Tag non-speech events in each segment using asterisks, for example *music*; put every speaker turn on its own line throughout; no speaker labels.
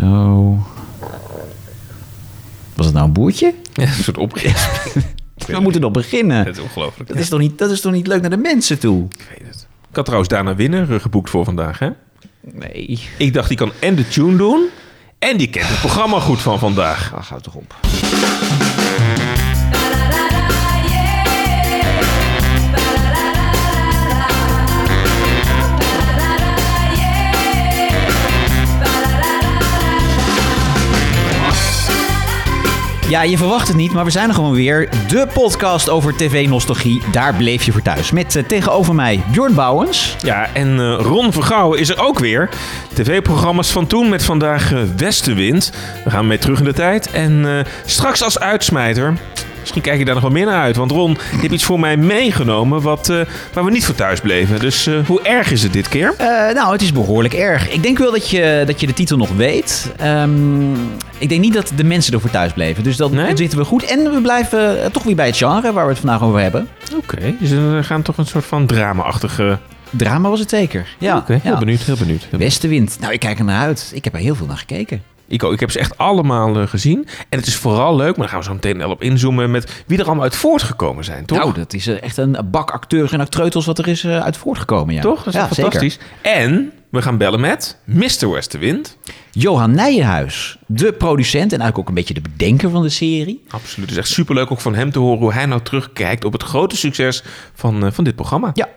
Zo. Was het nou een boertje?
Ja, een
*laughs*
soort opgesp.
We moeten nog beginnen.
Het is ongelooflijk.
Dat is, toch niet, dat is toch niet leuk naar de mensen toe?
Ik weet het. Ik had trouwens daarna winner eh, geboekt voor vandaag, hè?
Nee.
Ik dacht, die kan en de tune doen... en die kent het programma goed van vandaag.
Ah, houd toch op. Ja, je verwacht het niet, maar we zijn er gewoon weer. De podcast over tv-nostalgie. Daar bleef je voor thuis. Met eh, tegenover mij Bjorn Bouwens.
Ja, en eh, Ron Vergouwen is er ook weer. TV-programma's van toen met vandaag eh, Westenwind. We gaan mee terug in de tijd. En eh, straks als uitsmijter... Misschien kijk ik daar nog wel meer naar uit. Want Ron, je hebt iets voor mij meegenomen wat, eh, waar we niet voor thuis bleven. Dus eh, hoe erg is het dit keer?
Eh, nou, het is behoorlijk erg. Ik denk wel dat je, dat je de titel nog weet. Ehm, ik denk niet dat de mensen ervoor thuis bleven. Dus dan
Nee?
zitten we goed. En we blijven eh, toch weer bij het genre waar we het vandaag over hebben.
Oké, dus we gaan toch een soort van drama-achtige...
Drama was het zeker. Ja,
Oké, heel
ja.
benieuwd, heel benieuwd. Heel benieuwd.
Westenwind. Nou, ik kijk er naar uit. Ik heb er heel veel naar gekeken.
Ik, ook. ik heb ze echt allemaal eh, gezien. En het is vooral leuk, maar daar gaan we zo meteen wel op inzoomen... met wie er allemaal uit voortgekomen zijn, toch?
Nou, dat is eh, echt een bak acteurs en actreutels wat er is eh, uit voortgekomen. Ja.
toch? Dat is
ja,
toch fantastisch. En we gaan bellen met Mr. Westerwind.
Zeker. Johan Nijenhuis, de producent en eigenlijk ook een beetje de bedenker van de serie.
Absoluut. Het is echt superleuk ook van hem te horen... hoe hij nou terugkijkt op het grote succes van, eh, van dit programma.
Ja,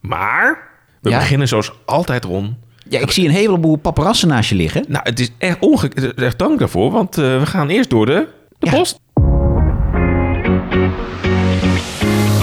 Maar we
Ja.
beginnen zoals altijd, Ron...
ja ik zie een heleboel paparazzen naast je liggen.
Nou, het is echt, onge... eh, echt dank daarvoor, want eh, we gaan eerst door de, de
Ja.
post.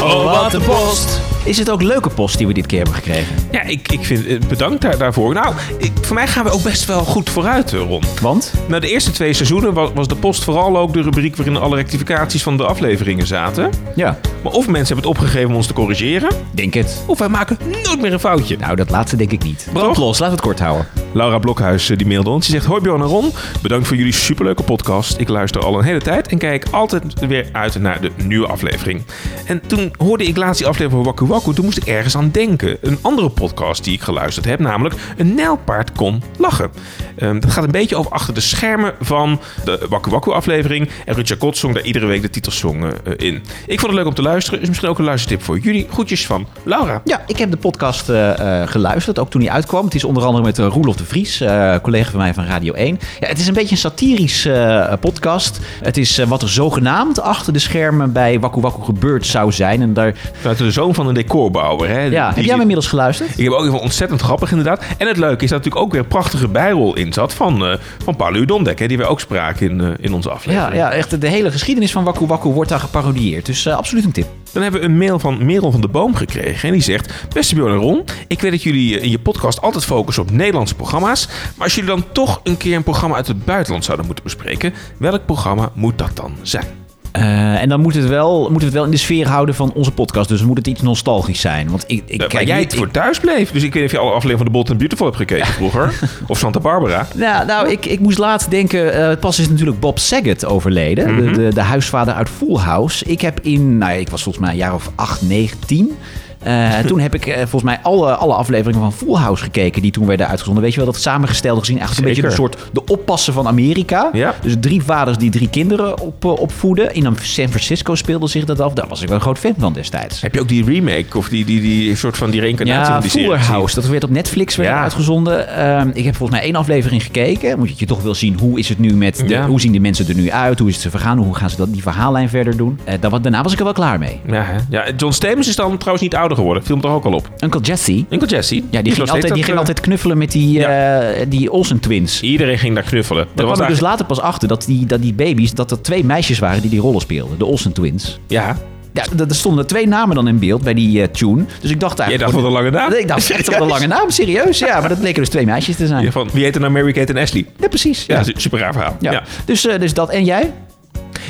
Oh, wat een post!
Is het ook leuke post die we dit keer hebben gekregen?
Ja, ik, ik vind, eh, bedankt daar, daarvoor. Nou, ik, voor mij gaan we ook best wel goed vooruit, eh, Ron.
Want?
Na de eerste twee seizoenen was, was de post vooral ook de rubriek waarin alle rectificaties van de afleveringen zaten.
Ja.
Maar of mensen hebben het opgegeven om ons te corrigeren,
Denk het.
of wij maken nooit meer een foutje.
Nou, dat laatste denk ik niet.
Brand
los, laten we het kort houden.
Laura Blokhuis eh, die mailde ons. Die zegt: Hoi Bjorn en Ron, bedankt voor jullie superleuke podcast. Ik luister al een hele tijd en kijk altijd weer uit naar de nieuwe aflevering. En toen hoorde ik laatst die aflevering van Waku Waku, toen moest ik ergens aan denken. Een andere podcast die ik geluisterd heb, namelijk Een Nijlpaard kon lachen. Ehm, dat gaat een beetje over achter de schermen van de Waku Waku aflevering. En Rutja Kot zong daar iedere week de titelsong eh, eh, in. Ik vond het leuk om te luisteren, is misschien ook een luistertip voor jullie. Groetjes van Laura.
Ja, ik heb de podcast eh, eh, geluisterd, ook toen die uitkwam. Het is onder andere met eh, Roelof de Vries, eh, collega van mij van Radio 1. Ja, het is een beetje een satirisch eh, podcast. Het is eh, wat er zogenaamd achter de schermen bij Waku Waku gebeurd zou zijn. En daar,
Nou, de zoon van een decorbouwer. Hè?
ja, heb
Die-
jij hem inmiddels geluisterd?
Ik heb ook even ontzettend grappig inderdaad. En het leuke is dat er natuurlijk ook weer een prachtige bijrol in zat van, eh van Paulo Domdek, hè, die we ook spraken in, eh, in onze
Ja,
aflevering.
ja, echt de hele geschiedenis van Waku Waku wordt daar geparodieerd. Dus eh, absoluut een tip.
Dan hebben we een mail van Merel van de Boom gekregen en die zegt... Beste Björn en Ron, ik weet dat jullie eh, in je podcast altijd focussen op Nederlandse programma's. Maar als jullie dan toch een keer een programma uit het buitenland zouden moeten bespreken, welk programma moet dat dan zijn?
Eh, en dan moet het, wel, moeten we het wel in de sfeer houden van onze podcast. Dus moet het iets nostalgisch zijn. Want ik, ik
Eh,
kijk
waar jij
niet-
het voor thuis bleef. Dus ik weet niet of je alle afleveringen van The Bold and Beautiful hebt gekeken
*laughs*
vroeger. Of Santa Barbara.
Nou, nou ik, ik moest laatst denken. eh, pas is natuurlijk Bob Saget overleden.
Mhm.
de, de, de huisvader uit Full House. Ik heb in. Nou, ik was volgens mij een jaar of 8, 9, 10.
*laughs*
Eh, toen heb ik eh, volgens mij alle, alle afleveringen van Full House gekeken die toen werden uitgezonden. Weet je wel, dat samengestelde gezien eigenlijk een beetje
Zeker.
een soort de oppassen van Amerika.
Ja.
Dus drie vaders die drie kinderen op, eh, opvoeden. In San Francisco speelde zich dat af. Daar was ik wel een groot fan van destijds.
Heb je ook die remake of die, die, die soort van die reïncarnatie
Ja,
van die serie
Fuller
gezien?
House. Dat werd op Netflix werd
Ja.
uitgezonden. Ehm, ik heb volgens mij één aflevering gekeken. Moet je toch wel zien hoe is het nu met... De,
Ja.
Hoe zien de mensen er nu uit? Hoe is het ze vergaan? Hoe gaan ze dat, die verhaallijn verder doen? Eh, dan, daarna was ik er wel klaar mee.
Ja, hè? ja, John Stamos is dan trouwens niet ouder geworden. Filmt er ook al op.
Uncle Jesse.
Uncle Jesse.
Ja, die,
is nog
ging,
steeds
altijd,
dat,
die ging
eh,
altijd knuffelen met die, eh, die Olsen Twins.
Iedereen ging daar knuffelen. Dat
Daar
was
kwam ik dus
eigenlijk-
later pas achter dat die, dat die baby's... dat er twee meisjes waren die die rollen speelden. De Olsen Twins.
Ja,
Ja, d- er stonden twee namen dan in beeld bij die eh, tune. Dus ik dacht
jij
eigenlijk...
dacht wel een lange naam.
ik
*laughs*
dacht echt op de lange naam, serieus. Ja, maar dat bleken dus twee meisjes te zijn.
Ja, van, wie heet er nou Mary-Kate en Ashley?
Ja, precies.
Ja,
Ja.
su- super raar verhaal.
Ja.
Ja.
Dus, eh, dus dat. En jij?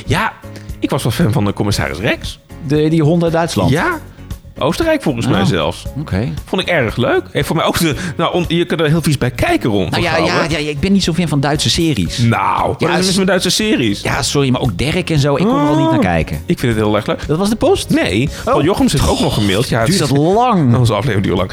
Ja, ik was wel fan van de commissaris Rex.
De, die honden uit Duitsland.
Ja. Oostenrijk volgens
Oh.
mij zelfs.
Oké. Nou
Vond ik erg leuk. Heeft voor mij ook de, nou, on- je kunt er heel vies bij kijken rond.
Nou ja,
van
ja,
Gouwen.
ja, ik ben niet zo fan van Duitse series.
Nou,
Ja,
maar dat is
s-
mijn Duitse series.
Ja, sorry, maar ook Dirk en zo. Ik kon er al
Oh.
niet naar kijken.
Ik vind het heel erg leuk.
Dat was de post?
Nee, Paul Jochems heeft ook nog gemaild. Ja, het
Duurt
is-
dat lang?
Onze aflevering duurt lang.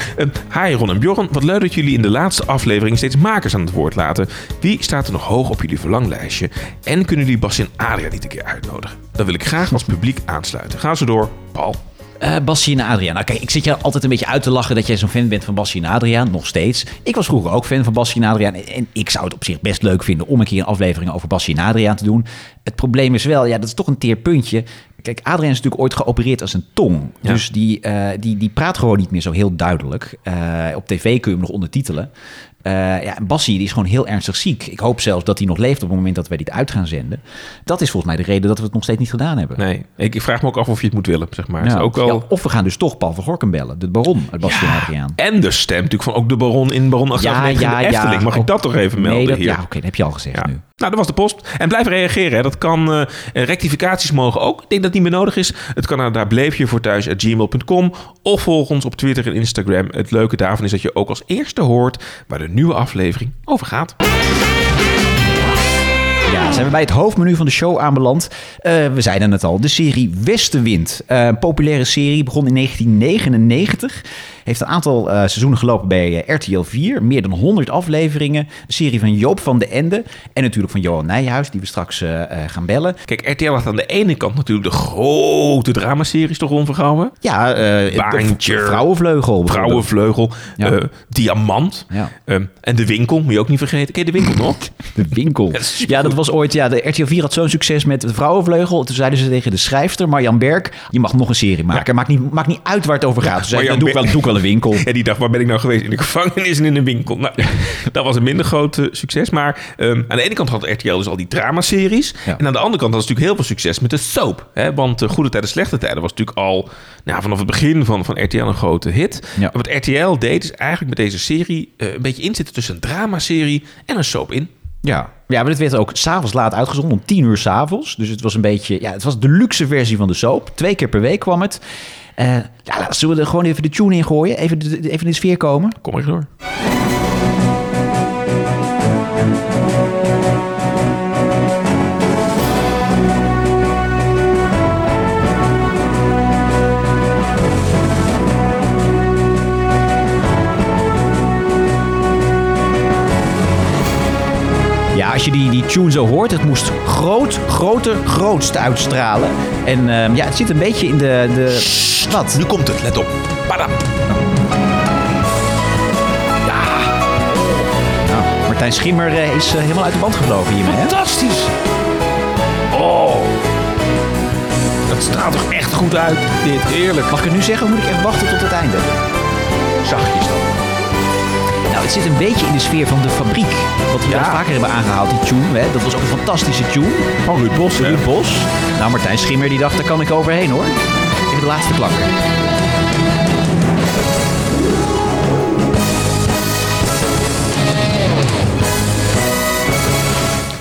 Eh, hi Ron en Bjorn, wat leuk dat jullie in de laatste aflevering steeds makers aan het woord laten. Wie staat er nog hoog op jullie verlanglijstje? En kunnen jullie Bas en Adriaan niet een keer uitnodigen? Dan wil ik graag als publiek aansluiten. Gaan ze door, Paul.
Eh Bassie en Adriaan. Nou kijk, ik zit je altijd een beetje uit te lachen dat jij zo'n fan bent van Bassie en Adriaan. Nog steeds. Ik was vroeger ook fan van Bassie en Adriaan. En, en ik zou het op zich best leuk vinden om een keer een aflevering over Bassie en Adriaan te doen. Het probleem is wel, ja, dat is toch een teer puntje. Kijk, Adriaan is natuurlijk ooit geopereerd als een tong.
Ja.
Dus die, eh, die, die praat gewoon niet meer zo heel duidelijk. Eh, op tv kun je hem nog ondertitelen. Eh, ja, en Bassie die is gewoon heel ernstig ziek. Ik hoop zelfs dat hij nog leeft op het moment dat wij dit uit gaan zenden. Dat is volgens mij de reden dat we het nog steeds niet gedaan hebben.
Nee, ik, ik vraag me ook af of je het moet willen, zeg maar. Het is
Ja.
ook wel...
Ja, of we gaan dus toch Paul van Gorkum bellen. De baron uit Bastion Adriaan.
En de stem natuurlijk van ook de baron in Baron 898 ja, de Efteling. Mag ik
Oh,
dat toch even melden
nee, dat-
hier?
Ja, oké, dat heb je al gezegd
Ja.
nu.
Nou, dat was de post. En blijf reageren. Hè. Dat kan. eh, eh, rectificaties mogen ook. Ik denk dat het niet meer nodig is. Het kan naar daar bleef je voor thuis at gmail.com. Of volg ons op Twitter en Instagram. Het leuke daarvan is dat je ook als eerste hoort waar de nieuwe aflevering over gaat.
Ja, zijn we bij het hoofdmenu van de show aanbeland. Eh, we zeiden het al, de serie Westenwind. Eh, een populaire serie, begon in 1999. Heeft een aantal eh, seizoenen gelopen bij eh, RTL 4. Meer dan 100 afleveringen. Een serie van Joop van de Ende. En natuurlijk van Johan Nijhuis, die we straks eh, eh, gaan bellen.
Kijk, RTL had aan de ene kant natuurlijk de grote dramaseries toch onvergouwen.
Ja, eh
Baantje.
Vrouwenvleugel. bijvoorbeeld.
Vrouwenvleugel,
Ja.
eh, Diamant
Ja.
eh, en De Winkel, moet je ook niet vergeten. Ken je De Winkel nog?
De
*laughs*
winkel.
Ja, supergoed.
Ja, dat was ooit. Ja, de RTL 4 had zo'n succes met de vrouwenvleugel. Toen zeiden ze tegen de schrijfster Marjan Berk: Je mag nog een serie maken. Maakt, niet, maakt niet uit waar het over gaat. Toen zei ze,
Marjan
dan doe ik wel,
Berk.
doe ik wel een
*laughs*
winkel.
En die dacht, waar ben ik nou geweest? In de gevangenis en in een winkel. Nou, dat was een minder groot eh, succes. Maar ehm, aan de ene kant had RTL dus al die dramaseries.
Ja.
En aan de andere kant had ze natuurlijk heel veel succes met de soap. Hè? Want eh, Goede Tijden, Slechte Tijden was natuurlijk al nou, vanaf het begin van, van RTL een grote hit.
Ja.
En wat RTL deed, is eigenlijk met deze serie eh, een beetje inzitten tussen een dramaserie en een soap in.
Ja. ja, maar dit werd ook s'avonds laat uitgezonden, om tien uur s'avonds. Dus het was een beetje. Ja, het was de luxe versie van de soap. Twee keer per week kwam het. Eh, ja, nou, zullen we er gewoon even de tune in gooien? Even, de, de- even in de sfeer komen?
Kom ik door.
Ja, als je die, die tune zo hoort, het moest groot, groter, grootst uitstralen. En ehm, ja, het zit een beetje in de. de... Wat?
Nu komt het, let op. Padam.
Nou, Martijn Schimmer eh, is eh, helemaal uit de band gevlogen hiermee. Hè?
Fantastisch! Oh! Dat straalt toch echt goed uit, dit. Heerlijk.
Mag ik het nu zeggen of moet ik echt wachten tot het einde?
Zachtjes dan.
Nou, het zit een beetje in de sfeer van de fabriek. Wat we
Ja.
al vaker hebben aangehaald, die tune. Hè? Dat was ook een fantastische tune.
Van Oh, Ruud Bos,
Ruud Bos. Nou, Martijn Schimmer die dacht, daar kan ik overheen hoor. Even de laatste klakker.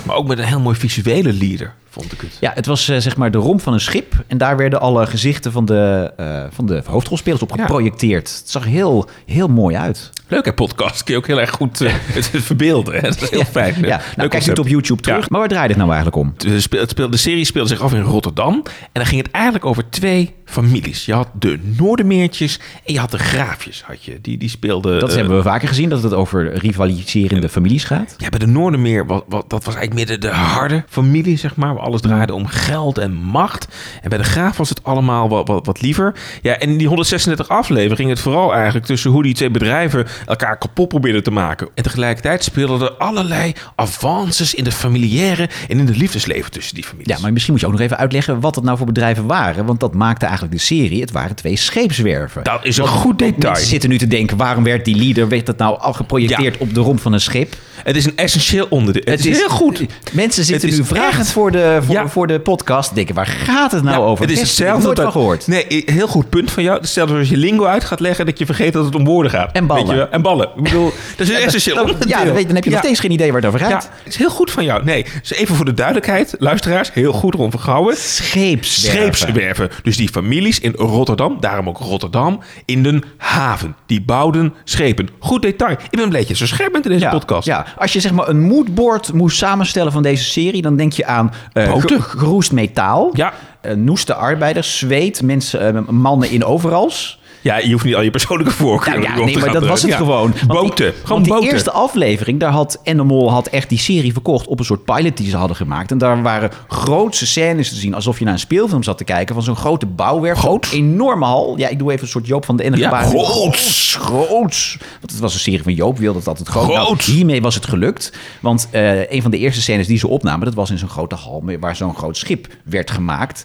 Maar ook met een heel mooi visuele leader, vond ik het.
Ja, het was eh, zeg maar de romp van een schip. En daar werden alle gezichten van de, eh, van de hoofdrolspelers op
Ja.
geprojecteerd. Het zag heel, heel mooi uit.
Leuk, hè, podcast. Kun je ook heel erg goed *laughs* eh, het verbeelden. Hè? Dat is heel fijn.
Ja, nou, kijk je het op YouTube terug.
Ja.
Maar waar draait het nou eigenlijk om?
De, Eh, speel- het speelde- de serie speelde zich af in Rotterdam. En dan ging het eigenlijk over twee families. Je had de Noordermeertjes en je had de Graafjes. Had je. Die, die speelden...
Dat
eh,
hebben we vaker gezien, dat het over rivaliserende families gaat.
Ja, bij de Noordermeer, wat, wat, dat was eigenlijk meer de, de harde familie, zeg maar. Waar alles draaide om geld en macht. En bij de Graaf was het allemaal wat, wat, wat liever. Ja, en in die 136 aflevering ging het vooral eigenlijk tussen hoe die twee bedrijven elkaar kapot probeerden te maken. En tegelijkertijd speelden er allerlei avances in de familiaire en in het liefdesleven tussen die families.
Ja, maar misschien moet je ook nog even uitleggen wat dat nou voor bedrijven waren. Want dat maakte eigenlijk de serie. Het waren twee scheepswerven.
Dat is een goed detail.
Mensen zitten nu te denken, waarom werd die leader, werd dat nou al geprojecteerd op de romp van een schip?
Het is een essentieel onderdeel. Het, is, heel goed.
Mensen zitten
is
nu vragend
echt-
voor, de, voor,
Ja.
voor de podcast. Denken, waar gaat het nou
Ja,
over?
Het is
Best,
hetzelfde.
Ik heb er nooit
dat-
van gehoord.
Nee, i- heel goed punt van jou. Hetzelfde als je lingo uit gaat leggen, dat je vergeet dat het om woorden gaat.
En ballen.
Weet je wel? En ballen.
*laughs*
Ik bedoel, dat is een essentieel
Dan-
onderdeel.
ja, dan, weet- dan heb je
Ja.
nog steeds geen idee waar het over
Ja,
gaat.
het is heel goed van jou. Nee, dus even voor de duidelijkheid, luisteraars, heel goed Ron van Gouwen.
Scheepswerven.
Scheepswerven. Dus die families in Rotterdam, daarom ook Rotterdam, in de haven. Die bouwden schepen. Goed detail. Ik ben een beetje zo scherp bent in deze
Ja,
podcast.
ja, als je zeg maar een moodboard moest samenstellen van deze serie, dan denk je aan eh,
Boten.
ge- geroest metaal,
Ja.
eh, noeste arbeiders, zweet, mensen, eh, mannen in overals.
Ja, je hoeft niet al je persoonlijke
Nou
voorkeuren
ja,
op te
nee, maar
gaan
dat was het
drukken. Ja.
gewoon. Want die-
Boten.
want
Gewoon
die
boten.
eerste aflevering, daar had Animal had echt die serie verkocht op een soort pilot die ze hadden gemaakt. En daar waren grootse scènes te zien, alsof je naar een speelfilm zat te kijken van zo'n grote bouwwerf.
Groot?
Een enorme hal. Ja, ik doe even een soort Joop van de Ende
Ja,
gebaar.
groots.
Groots. Want het was een serie van Joop, wilde dat altijd groot. Nou,
Groots.
hiermee was het gelukt. Want eh, een van de eerste scènes die ze opnamen, dat was in zo'n grote hal waar zo'n groot schip werd gemaakt.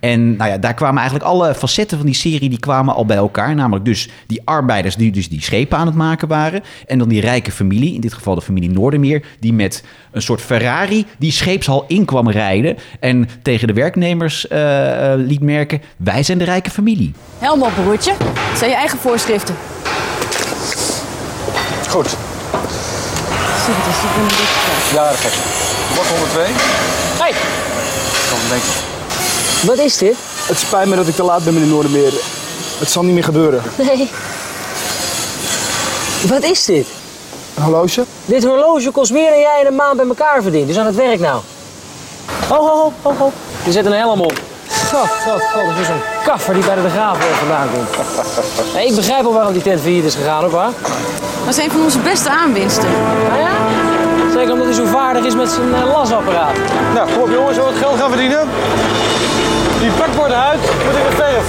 En nou ja, daar kwamen eigenlijk alle facetten van die serie die kwamen al bij elkaar. Namelijk dus die arbeiders die dus die schepen aan het maken waren. En dan die rijke familie, in dit geval de familie Noordermeer, die met een soort Ferrari die scheepshal in kwam rijden. En tegen de werknemers eh, eh, liet merken, wij zijn de rijke familie.
Helm op, broertje. Dat zijn je eigen voorschriften.
Goed,
Zie je, dat is niet meer
ja, dat geeft Wat 102?
Hey,
Dan denk ik.
wat is dit?
Het spijt me dat ik te laat ben, meneer Noordermeer. Het zal niet meer gebeuren.
Nee. Wat is dit?
Een horloge?
Dit horloge kost meer dan jij in een maand bij elkaar verdient. Dus aan het werk nou. Ho, ho, ho, ho, ho. Je zet een helm op. God, god, god. Dat is zo'n kaffer die bij de graafwerk vandaan komt. *laughs* Hey, ik begrijp al waarom die tent failliet is gegaan, hoor. waar?
Ah,
Dat is een van onze beste aanwinsten.
Nou ja, zeker omdat hij zo vaardig is met zijn eh, lasapparaat.
Nou, kom op jongens, we wat geld gaan verdienen. Die pak wordt uit, moet ik verf.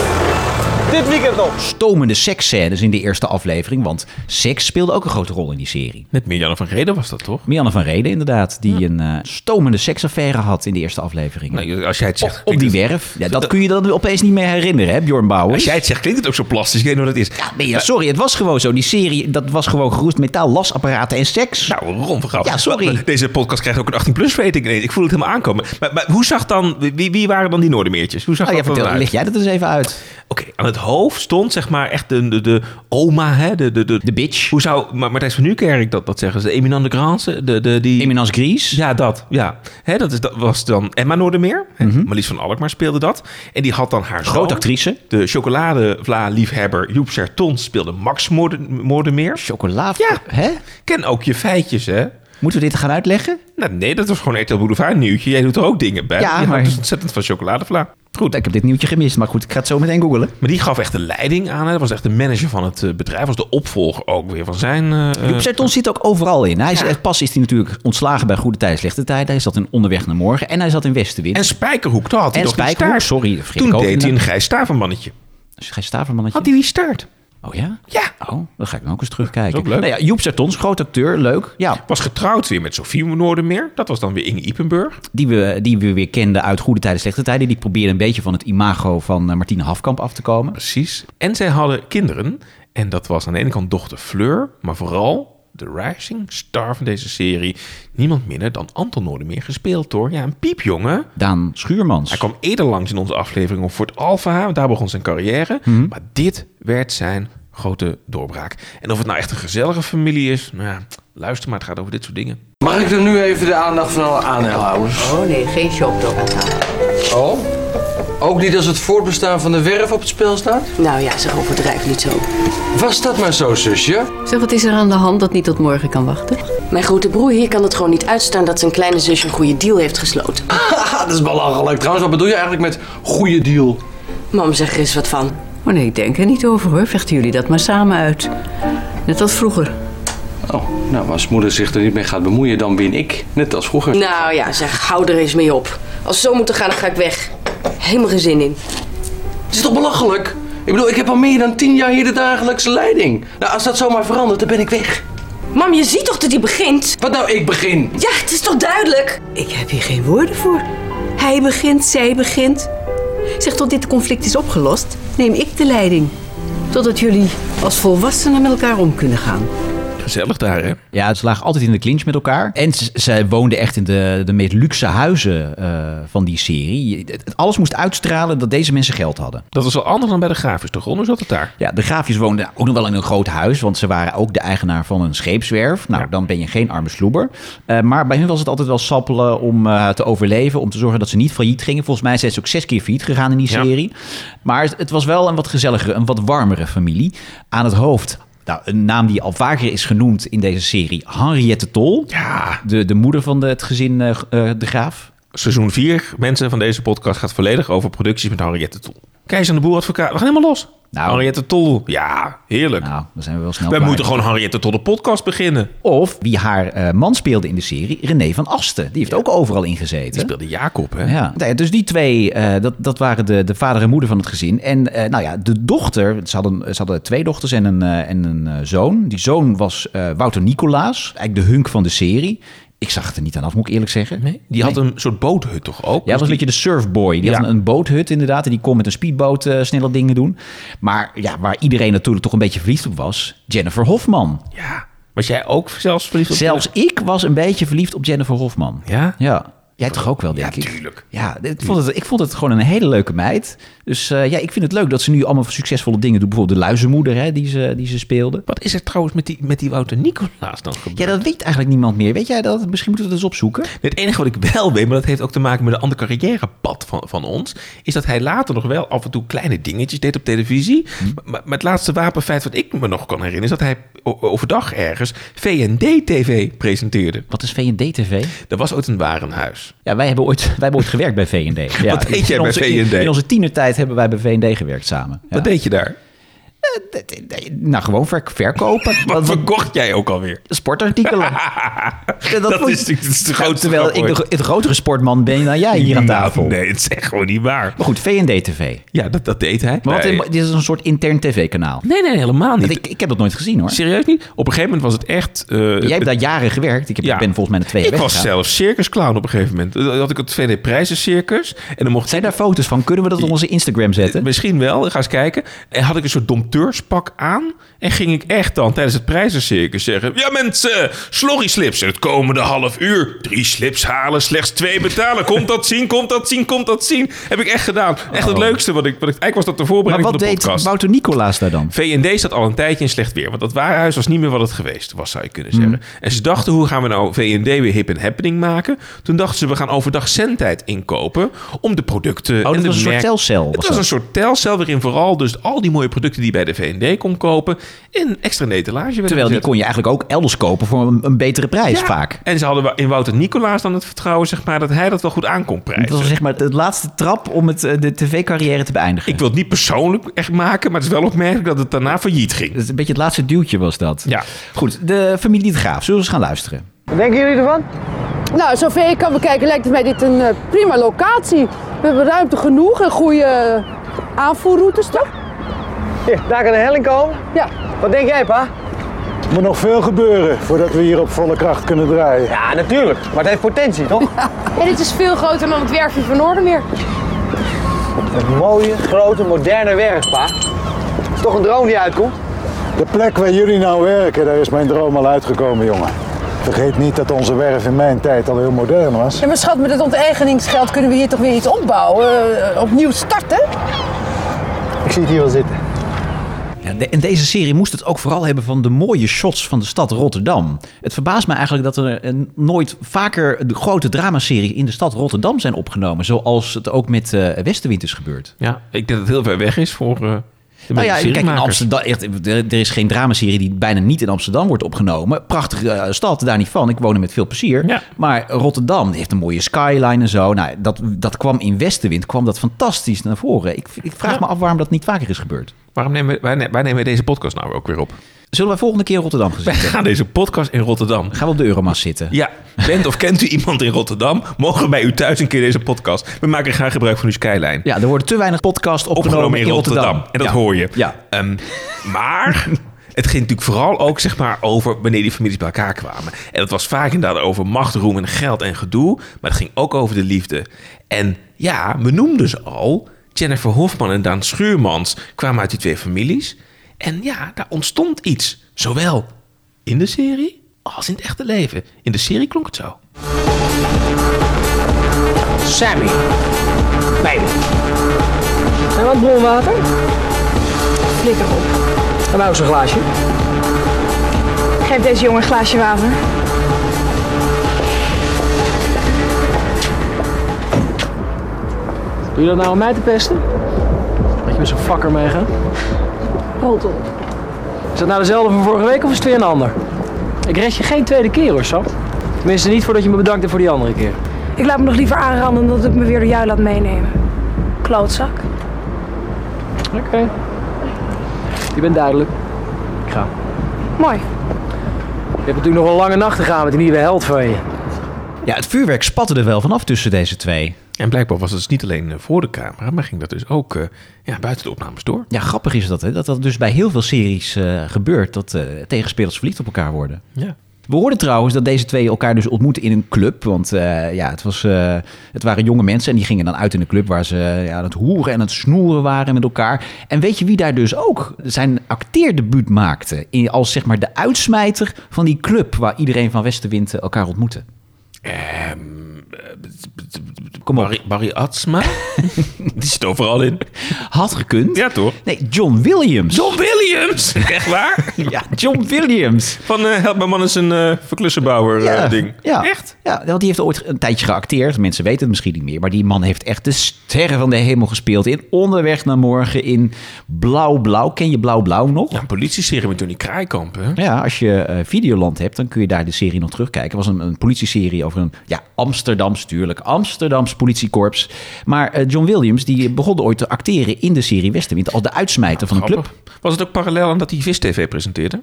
Dit weekend nog.
Stomende seksscènes in de eerste aflevering, want seks speelde ook een grote rol in die serie.
Met Mirjana van Reden was dat toch?
Mianne van Reden inderdaad, die een eh, stomende seksaffaire had in de eerste aflevering.
Nou, als jij het zegt.
op, op die
klinkt het-
werf. Ja, dat kun je dan opeens niet meer herinneren, hè, Bjorn
Als
Bouwers.
jij het zegt, klinkt het ook zo plastisch. Ik weet niet hoe dat is.
Ja, nee, ja, sorry, het was gewoon zo. Die serie, dat was gewoon geroest metaal, lasapparaten en seks.
Nou, Ron van Gouwen.
Ja, sorry.
Deze podcast krijgt ook een 18 plus rating. Nee, ik voel het helemaal aankomen. Maar, maar hoe zag dan, wie, wie waren dan die Noordermeertjes? Hoe zag
Oh, ja,
dat dan
vertel,
eruit?
leg jij dat eens even uit.
Oké, aan het hoofd stond zeg maar echt de, de, de oma, hè? De, de, de,
De bitch.
Hoe zou Ma- Martijn van Nieuwkerk dat, dat zeggen? De eminente grance? De, de, die...
Eminence Gries.
Ja, dat. Ja. Hè, dat, is, dat was dan Emma Noordermeer. hè. Marlies van Alkmaar speelde dat. En die had dan haar zoon,
Mhm. Grote actrice.
De chocoladevla-liefhebber Joep Serton speelde Max Moorde- Moordermeer.
Chocola.
Ja.
Hè?
Ken ook je feitjes, hè?
Moeten we dit gaan uitleggen?
Nou, nee, dat was gewoon RTL Boulevard nieuwtje. Jij doet er ook dingen bij.
Ja,
Ja, maar...
maar-
dus ontzettend van chocoladevla. Goed.
Ik heb dit nieuwtje gemist, maar goed, ik ga het zo meteen googlen.
Maar die gaf echt de leiding aan. Hij was echt de manager van het eh, bedrijf. Was de opvolger ook weer van zijn... eh,
Joep Serton zit ook overal in. Hij is, Pas is hij natuurlijk ontslagen bij Goede Tijd, Slechte Tijd. Hij zat in Onderweg naar Morgen en hij zat in Westenwind.
En Spijkerhoek, daar had hij
En
nog die
Spijkerhoek,
staart.
sorry, dat vergeet
Toen
ik ook
deed hij een
inderdaad.
grijs stavenmannetje.
Is Dus Gijs Stavermannetje?
Had hij die staart?
Oh ja?
Ja.
Oh, dan ga ik dan ook eens terugkijken.
Is ook leuk.
Nou ja, Joep Sertons, groot acteur, leuk. Ja,
Was getrouwd weer met Sofie Noordermeer. Dat was dan weer Inge Ipenburg.
die we, die we weer kenden uit Goede Tijden, Slechte Tijden. Die probeerde een beetje van het imago van eh, Martine Hafkamp af te komen.
Precies. En zij hadden kinderen. En dat was aan de ene kant dochter Fleur. Maar vooral de rising star van deze serie. Niemand minder dan Anton Noordermeer gespeeld door. Ja, een piepjongen.
Daan Schuurmans.
Hij kwam eerder langs in onze aflevering op Fort Alpha, want daar begon zijn carrière. Maar dit werd zijn grote doorbraak. En of het nou echt een gezellige familie is, nou ja, luister maar, het gaat over dit soort dingen.
Mag ik dan nu even de aandacht van alle aandeelhouders?
Oh nee, geen shopdog aan tafel.
Oh? Ook niet als het voortbestaan van de werf op het spel staat?
Nou ja, zeg overdrijf niet zo.
Was dat maar zo, zusje? *laughs*
Zeg, wat is er aan de hand dat niet tot morgen kan wachten?
Mijn grote broer hier kan het gewoon niet uitstaan dat zijn kleine zusje een goede deal heeft gesloten.
Haha, dat is belachelijk. Trouwens, wat bedoel je eigenlijk met goede deal?
Mam, zeg er eens wat van.
Oh nee, ik denk er niet over hoor. Vechten jullie dat maar samen uit. Net als vroeger.
Oh, nou, als moeder zich er niet mee gaat bemoeien, dan win ik. Net als vroeger.
Nou ja, zeg, hou er eens mee op. Als we zo moeten gaan, dan ga ik weg. Helemaal geen zin in.
Het is toch belachelijk? Ik bedoel, ik heb al meer dan tien jaar hier de dagelijkse leiding. Nou, als dat zomaar verandert, dan ben ik weg.
Mam, je ziet toch dat hij begint?
Wat nou, ik begin?
Ja, het is toch duidelijk?
Ik heb hier geen woorden voor. Hij begint, zij begint. Zeg, tot dit conflict is opgelost, neem ik de leiding. Totdat jullie als volwassenen met elkaar om kunnen gaan.
Gezellig daar, hè?
Ja, ze lagen altijd in de clinch met elkaar. En ze, ze woonden echt in de, de meest luxe huizen eh, van die serie. Het- het- Alles moest uitstralen dat deze mensen geld hadden.
Dat was wel anders dan bij de grafisch, toch? Ron? Hoe zat het daar?
Ja, de graafjes woonden ook nog wel in een groot huis, want ze waren ook de eigenaar van een scheepswerf. Nou,
Ja.
dan ben je geen arme sloeber. Eh, maar bij hun was het altijd wel sappelen om eh, te overleven, om te zorgen dat ze niet failliet gingen. Volgens mij zijn ze ook zes keer failliet gegaan in die
Ja.
serie. Maar het, het was wel een wat gezelligere, een wat warmere familie. Aan het hoofd, nou, een naam die al vaker is genoemd in deze serie, Henriette Tol.
Ja,
De, de moeder van de, het gezin eh, g- eh, De Graaf.
seizoen 4, mensen van deze podcast, gaat volledig over producties met Henriette Tol. Keizer en de Boer advocaat, we gaan helemaal los.
Nou.
Henriette Tol, ja, heerlijk.
Nou, dan zijn we wel snel
Wij
klaar.
moeten gewoon Henriette Tol de podcast beginnen.
Of wie haar eh, man speelde in de serie, René van Asten. Die heeft ook overal ingezeten.
Die speelde Jacob, hè?
Ja. Nou ja, dus die twee, eh, dat, dat waren de, de vader en moeder van het gezin. En eh, nou ja, de dochter, ze hadden, ze hadden twee dochters en een, eh, en een eh, zoon. Die zoon was eh, Wouter Nicolaas, eigenlijk de hunk van de serie. Ik zag het er niet aan af, moet ik eerlijk zeggen.
Die had een soort boothut toch
Ja,
ook?
dat was een
Dus die-
beetje de surfboy. Die had
Ja.
een, een boothut inderdaad. En die kon met een speedboot eh, snelle dingen doen. Maar ja, waar iedereen natuurlijk toch een beetje verliefd op was... Jennifer Hofman.
Ja. Was jij ook zelfs verliefd op
Zelfs ik was een beetje verliefd op Jennifer Hofman.
Ja?
Ja. Jij toch ook wel, denk
Ja,
ik?
tuurlijk.
Ja, ik vond, het, ik vond het gewoon een hele leuke meid. Dus eh, ja, ik vind het leuk dat ze nu allemaal succesvolle dingen doet. Bijvoorbeeld de luizenmoeder hè, die, ze, die ze speelde.
Wat is er trouwens met die, met die Wouter Nicolaas dan gebeurd?
Ja, dat weet eigenlijk niemand meer. Weet jij dat? Misschien moeten we dat eens opzoeken.
Het enige wat ik wel weet, maar dat heeft ook te maken met een ander carrièrepad van, van ons, is dat hij later nog wel af en toe kleine dingetjes deed op televisie.
Mhm.
Maar, maar het laatste wapenfeit wat ik me nog kan herinneren, is dat hij o- overdag ergens VND-TV presenteerde.
Wat is VND-TV?
Er was ooit een warenhuis.
Ja, wij hebben ooit, *laughs* wij hebben ooit gewerkt bij
*laughs*
VND. Ja,
Wat deed jij
in
bij
onze-
V&D?
In onze tienertijd hebben wij bij VND gewerkt samen. Ja.
Wat deed je daar?
Eh, d- d- d- Nou, gewoon verk- verkopen.
*laughs* Wat
Want-
verkocht jij ook alweer?
Sportartikelen. dat
*laughs* Dat
moet-
is natuurlijk- dat is de grootste
Nou, Terwijl
grap
ik
ooit.
de, het grotere sportman ben dan jij hier aan
Nou,
tafel.
Nee, het is echt gewoon niet waar.
Maar goed, VND-TV.
Ja, dat, dat deed hij.
Maar wat,
Nee.
dit is een soort intern tv-kanaal.
nee, nee, helemaal niet.
Ik, ik heb dat nooit gezien hoor.
Serieus niet? Op een gegeven moment was het echt... eh,
Jij
het-
hebt daar jaren gewerkt. Ik, heb,
Ja.
ik ben volgens mij de twee jaar
Ik was
weggegaan.
zelfs circusclown op een gegeven moment. Dan had ik het 2D prijzencircus. En dan mocht
Zijn daar foto's van? Kunnen we dat op onze Instagram zetten?
Misschien wel, ga eens kijken. En had ik een soort dompteurspak aan. En ging ik echt dan tijdens het prijzencircus zeggen... Ja mensen, slorry slips. Het komende half uur. Drie slips halen, slechts twee betalen. Komt dat zien, komt dat zien, komt dat zien. Heb ik echt gedaan. Echt het leukste wat ik... Wat ik eigenlijk was dat de
Oh. Maar
voorbereiding
wat
van de
deed
podcast.
Wouter Nicolaas daar dan?
VND zat al een tijdje in slecht weer. Want dat warenhuis was niet meer wat het geweest was, zou je kunnen
Mm.
zeggen. En ze dachten, hoe gaan we nou VND weer hip en happening maken? Toen dachten ze, we gaan overdag zendtijd inkopen om de producten...
Oh, dat
en de
was een soort
merk-
telcel,
Het
was
was,
dat?
een soort telcel waarin vooral dus al die mooie producten die je bij de VND kon kopen... in extra in de etalage werden
Terwijl die
gezet.
kon je eigenlijk ook elders kopen voor een, een betere prijs
Ja.
vaak.
En ze hadden wa- in Wouter Nicolaas dan het vertrouwen, zeg maar, dat hij dat wel goed aan kon prijzen.
Het was zeg maar de laatste trap om het, eh, de tv-carrière te beëindigen.
Ik wil het niet persoonlijk echt maken, maar het is wel opmerkelijk dat het daarna failliet ging.
Het is een beetje het laatste duwtje was dat.
Ja.
Goed, de familie de Graaf. Zullen we eens gaan luisteren?
Wat denken jullie ervan?
Nou, zover ik kan bekijken lijkt het mij dit een eh, prima locatie. We hebben ruimte genoeg en goede eh, aanvoerroutes, toch?
Hier, daar kan een helling komen.
Ja.
Wat denk jij, pa?
Er moet nog veel gebeuren voordat we hier op volle kracht kunnen draaien.
Ja, natuurlijk. Maar het heeft potentie, toch?
En dit is veel groter dan het werfje van Noordermeer.
Een mooie, grote, moderne werk, pa. is toch een droom die uitkomt?
De plek waar jullie nou werken, daar is mijn droom al uitgekomen, jongen. Vergeet niet dat onze werf in mijn tijd al heel modern was.
Ja, maar schat, met het onteigeningsgeld kunnen we hier toch weer iets opbouwen? eh, opnieuw starten?
Ik zie het hier wel zitten.
Ja, de- en deze serie moest het ook vooral hebben van de mooie shots van de stad Rotterdam. Het verbaast me eigenlijk dat er eh, nooit vaker de grote dramaseries in de stad Rotterdam zijn opgenomen. Zoals het ook met eh Westenwind is gebeurd.
Ja, ik denk dat het heel ver weg is voor... eh, de
Nou ja, kijk, in
seriemakers.
Amsterdam, echt, er, er is geen dramaserie die bijna niet in Amsterdam wordt opgenomen. Prachtige eh, stad, daar niet van. Ik woon er met veel plezier.
Ja.
Maar Rotterdam heeft een mooie skyline en zo. Nou, dat, dat kwam in Westenwind, kwam dat fantastisch naar voren. Ik, ik vraag me af waarom dat niet vaker is gebeurd.
Waarom nemen we, wij, ne- wij nemen deze podcast nou ook weer op?
Zullen wij volgende keer Rotterdam gezien
*laughs* Wij
hebben?
gaan deze podcast in Rotterdam.
Gaan we op de Euromast zitten?
Ja, bent of kent u iemand in Rotterdam? Mogen bij u thuis een keer deze podcast? We maken graag gebruik van uw skyline.
Ja, er worden te weinig podcasts opgenomen,
Opgenomen
in Rotterdam.
En dat
Ja.
hoor je.
Ja.
Ehm, maar *laughs* het ging natuurlijk vooral ook zeg maar, over wanneer die families bij elkaar kwamen. En dat was vaak inderdaad over macht, roem en geld en gedoe. Maar het ging ook over de liefde. En ja, we noemden ze al. Jennifer Hofman en Daan Schuurmans kwamen uit die twee families. En ja, daar ontstond iets. Zowel In de serie? Als in het echte leven. In de serie klonk het zo.
Sammy. Baby. En wat bronwater? Flikker op. En nou zo'n glaasje.
Geef deze jongen een glaasje water.
Doe je dat nou om mij te pesten? Dat je met zo'n fakker meegaat? Rot op. Is dat nou dezelfde van vorige week of is het weer een ander? Ik red je geen tweede keer hoor, Sam. Tenminste niet voordat je me bedankt hebt voor die andere keer.
Ik laat me nog liever aanranden dan dat ik me weer door jou laat meenemen. Klootzak.
Oké. Je bent duidelijk. Ik ga.
Mooi.
Je hebt natuurlijk nog een lange nacht te gaan met die nieuwe held van je.
Ja, het vuurwerk spatte er wel vanaf tussen deze twee.
En blijkbaar was het dus niet alleen eh, voor de camera, maar ging dat dus ook eh, ja, buiten de opnames door.
Ja, grappig is dat, hè? Dat dat dus bij heel veel series eh, gebeurt. Dat eh, tegenspelers verliefd op elkaar worden.
Ja.
We hoorden trouwens dat deze twee elkaar dus ontmoeten in een club. Want eh, ja, het, was, eh, het waren jonge mensen en die gingen dan uit in een club... waar ze eh, ja, aan het hoeren en aan het snoeren waren met elkaar. En weet je wie daar dus ook zijn acteerdebuut maakte? In, als zeg maar de uitsmijter van die club... waar iedereen van Westenwind eh, elkaar ontmoette. Kom op.
Ehm, eh, Barry, Barry *laughs* Atsma? die zit overal in.
Had gekund.
Ja, toch?
Nee, John Williams.
John Williams! *laughs* Echt waar?
ja, John
*laughs*
Williams.
Van eh, Help Mijn Man is een eh verklussenbouwer eh,
Ja,
ding.
Ja.
Echt?
Ja, want die heeft ooit een tijdje geacteerd. Mensen weten het misschien niet meer. Maar die man heeft echt de sterren van de hemel gespeeld. In Onderweg naar Morgen, in Blauw Blauw. Ken je Blauw Blauw nog?
Ja,
Ja.
een politieserie met Tony Kraaikamp, hè?
als je eh, Videoland hebt, dan kun je daar de serie nog terugkijken. Het was een, een politieserie over een ja, Amsterdams, tuurlijk, Amsterdams politiekorps. Maar eh, John Williams, die begon ooit te acteren in de serie Westenwind. Als de uitsmijter van een club.
Grappig. Was het ook parallel aan dat hij Vis TV presenteerde?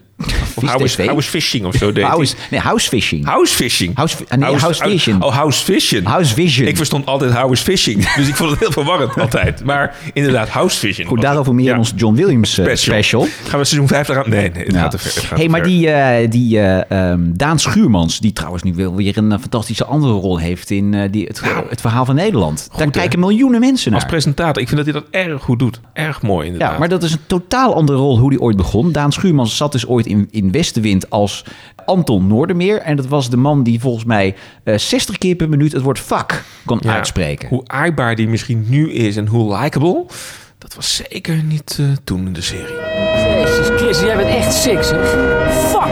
Of How is,
TV?
How is Fishing of *laughs* zo deed hij.
House, nee, Housefishing.
House Fishing.
House- ah, nee, House Vision.
Oh, House Vision.
House Vision.
Ik verstond altijd House Fishing. *laughs* Dus ik vond het heel verwarrend altijd. Maar inderdaad, House Vision.
Goed, daarover meer
Ja.
ons John Williams eh, special.
Gaan we seizoen 5 eraan? Nee, nee, het
Ja.
gaat te ver. het gaat
hey,
te
maar
ver.
die, eh, die eh, ehm, Daan Schuurmans, die trouwens nu wel weer een eh, fantastische andere rol heeft in eh, die, het, het verhaal van Nederland. Daar
Nou. hè?
kijken miljoenen mensen
Als
naar.
presentator, ik vind dat hij dat erg goed doet. Erg mooi inderdaad.
Ja, maar dat is een totaal andere rol hoe die ooit begon. Daan Schuurmans zat dus ooit in, in Westenwind als Anton Noordermeer. En dat was de man die volgens mij eh 60 keer per minuut het woord vak kon
Ja,
uitspreken.
Hoe aardbaar die misschien nu is en hoe likable, dat was zeker niet eh, toen in de serie.
Jezus Christus, jij bent echt sick, zeg. Fuck!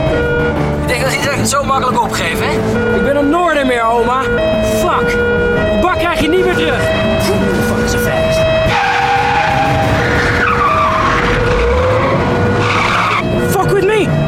Ik denk dat iedereen het zo makkelijk opgeeft, hè? Ik ben een Noordermeer, oma. Fuck! Die bak krijg je niet meer terug. Fuck is een fast. Fuck with me!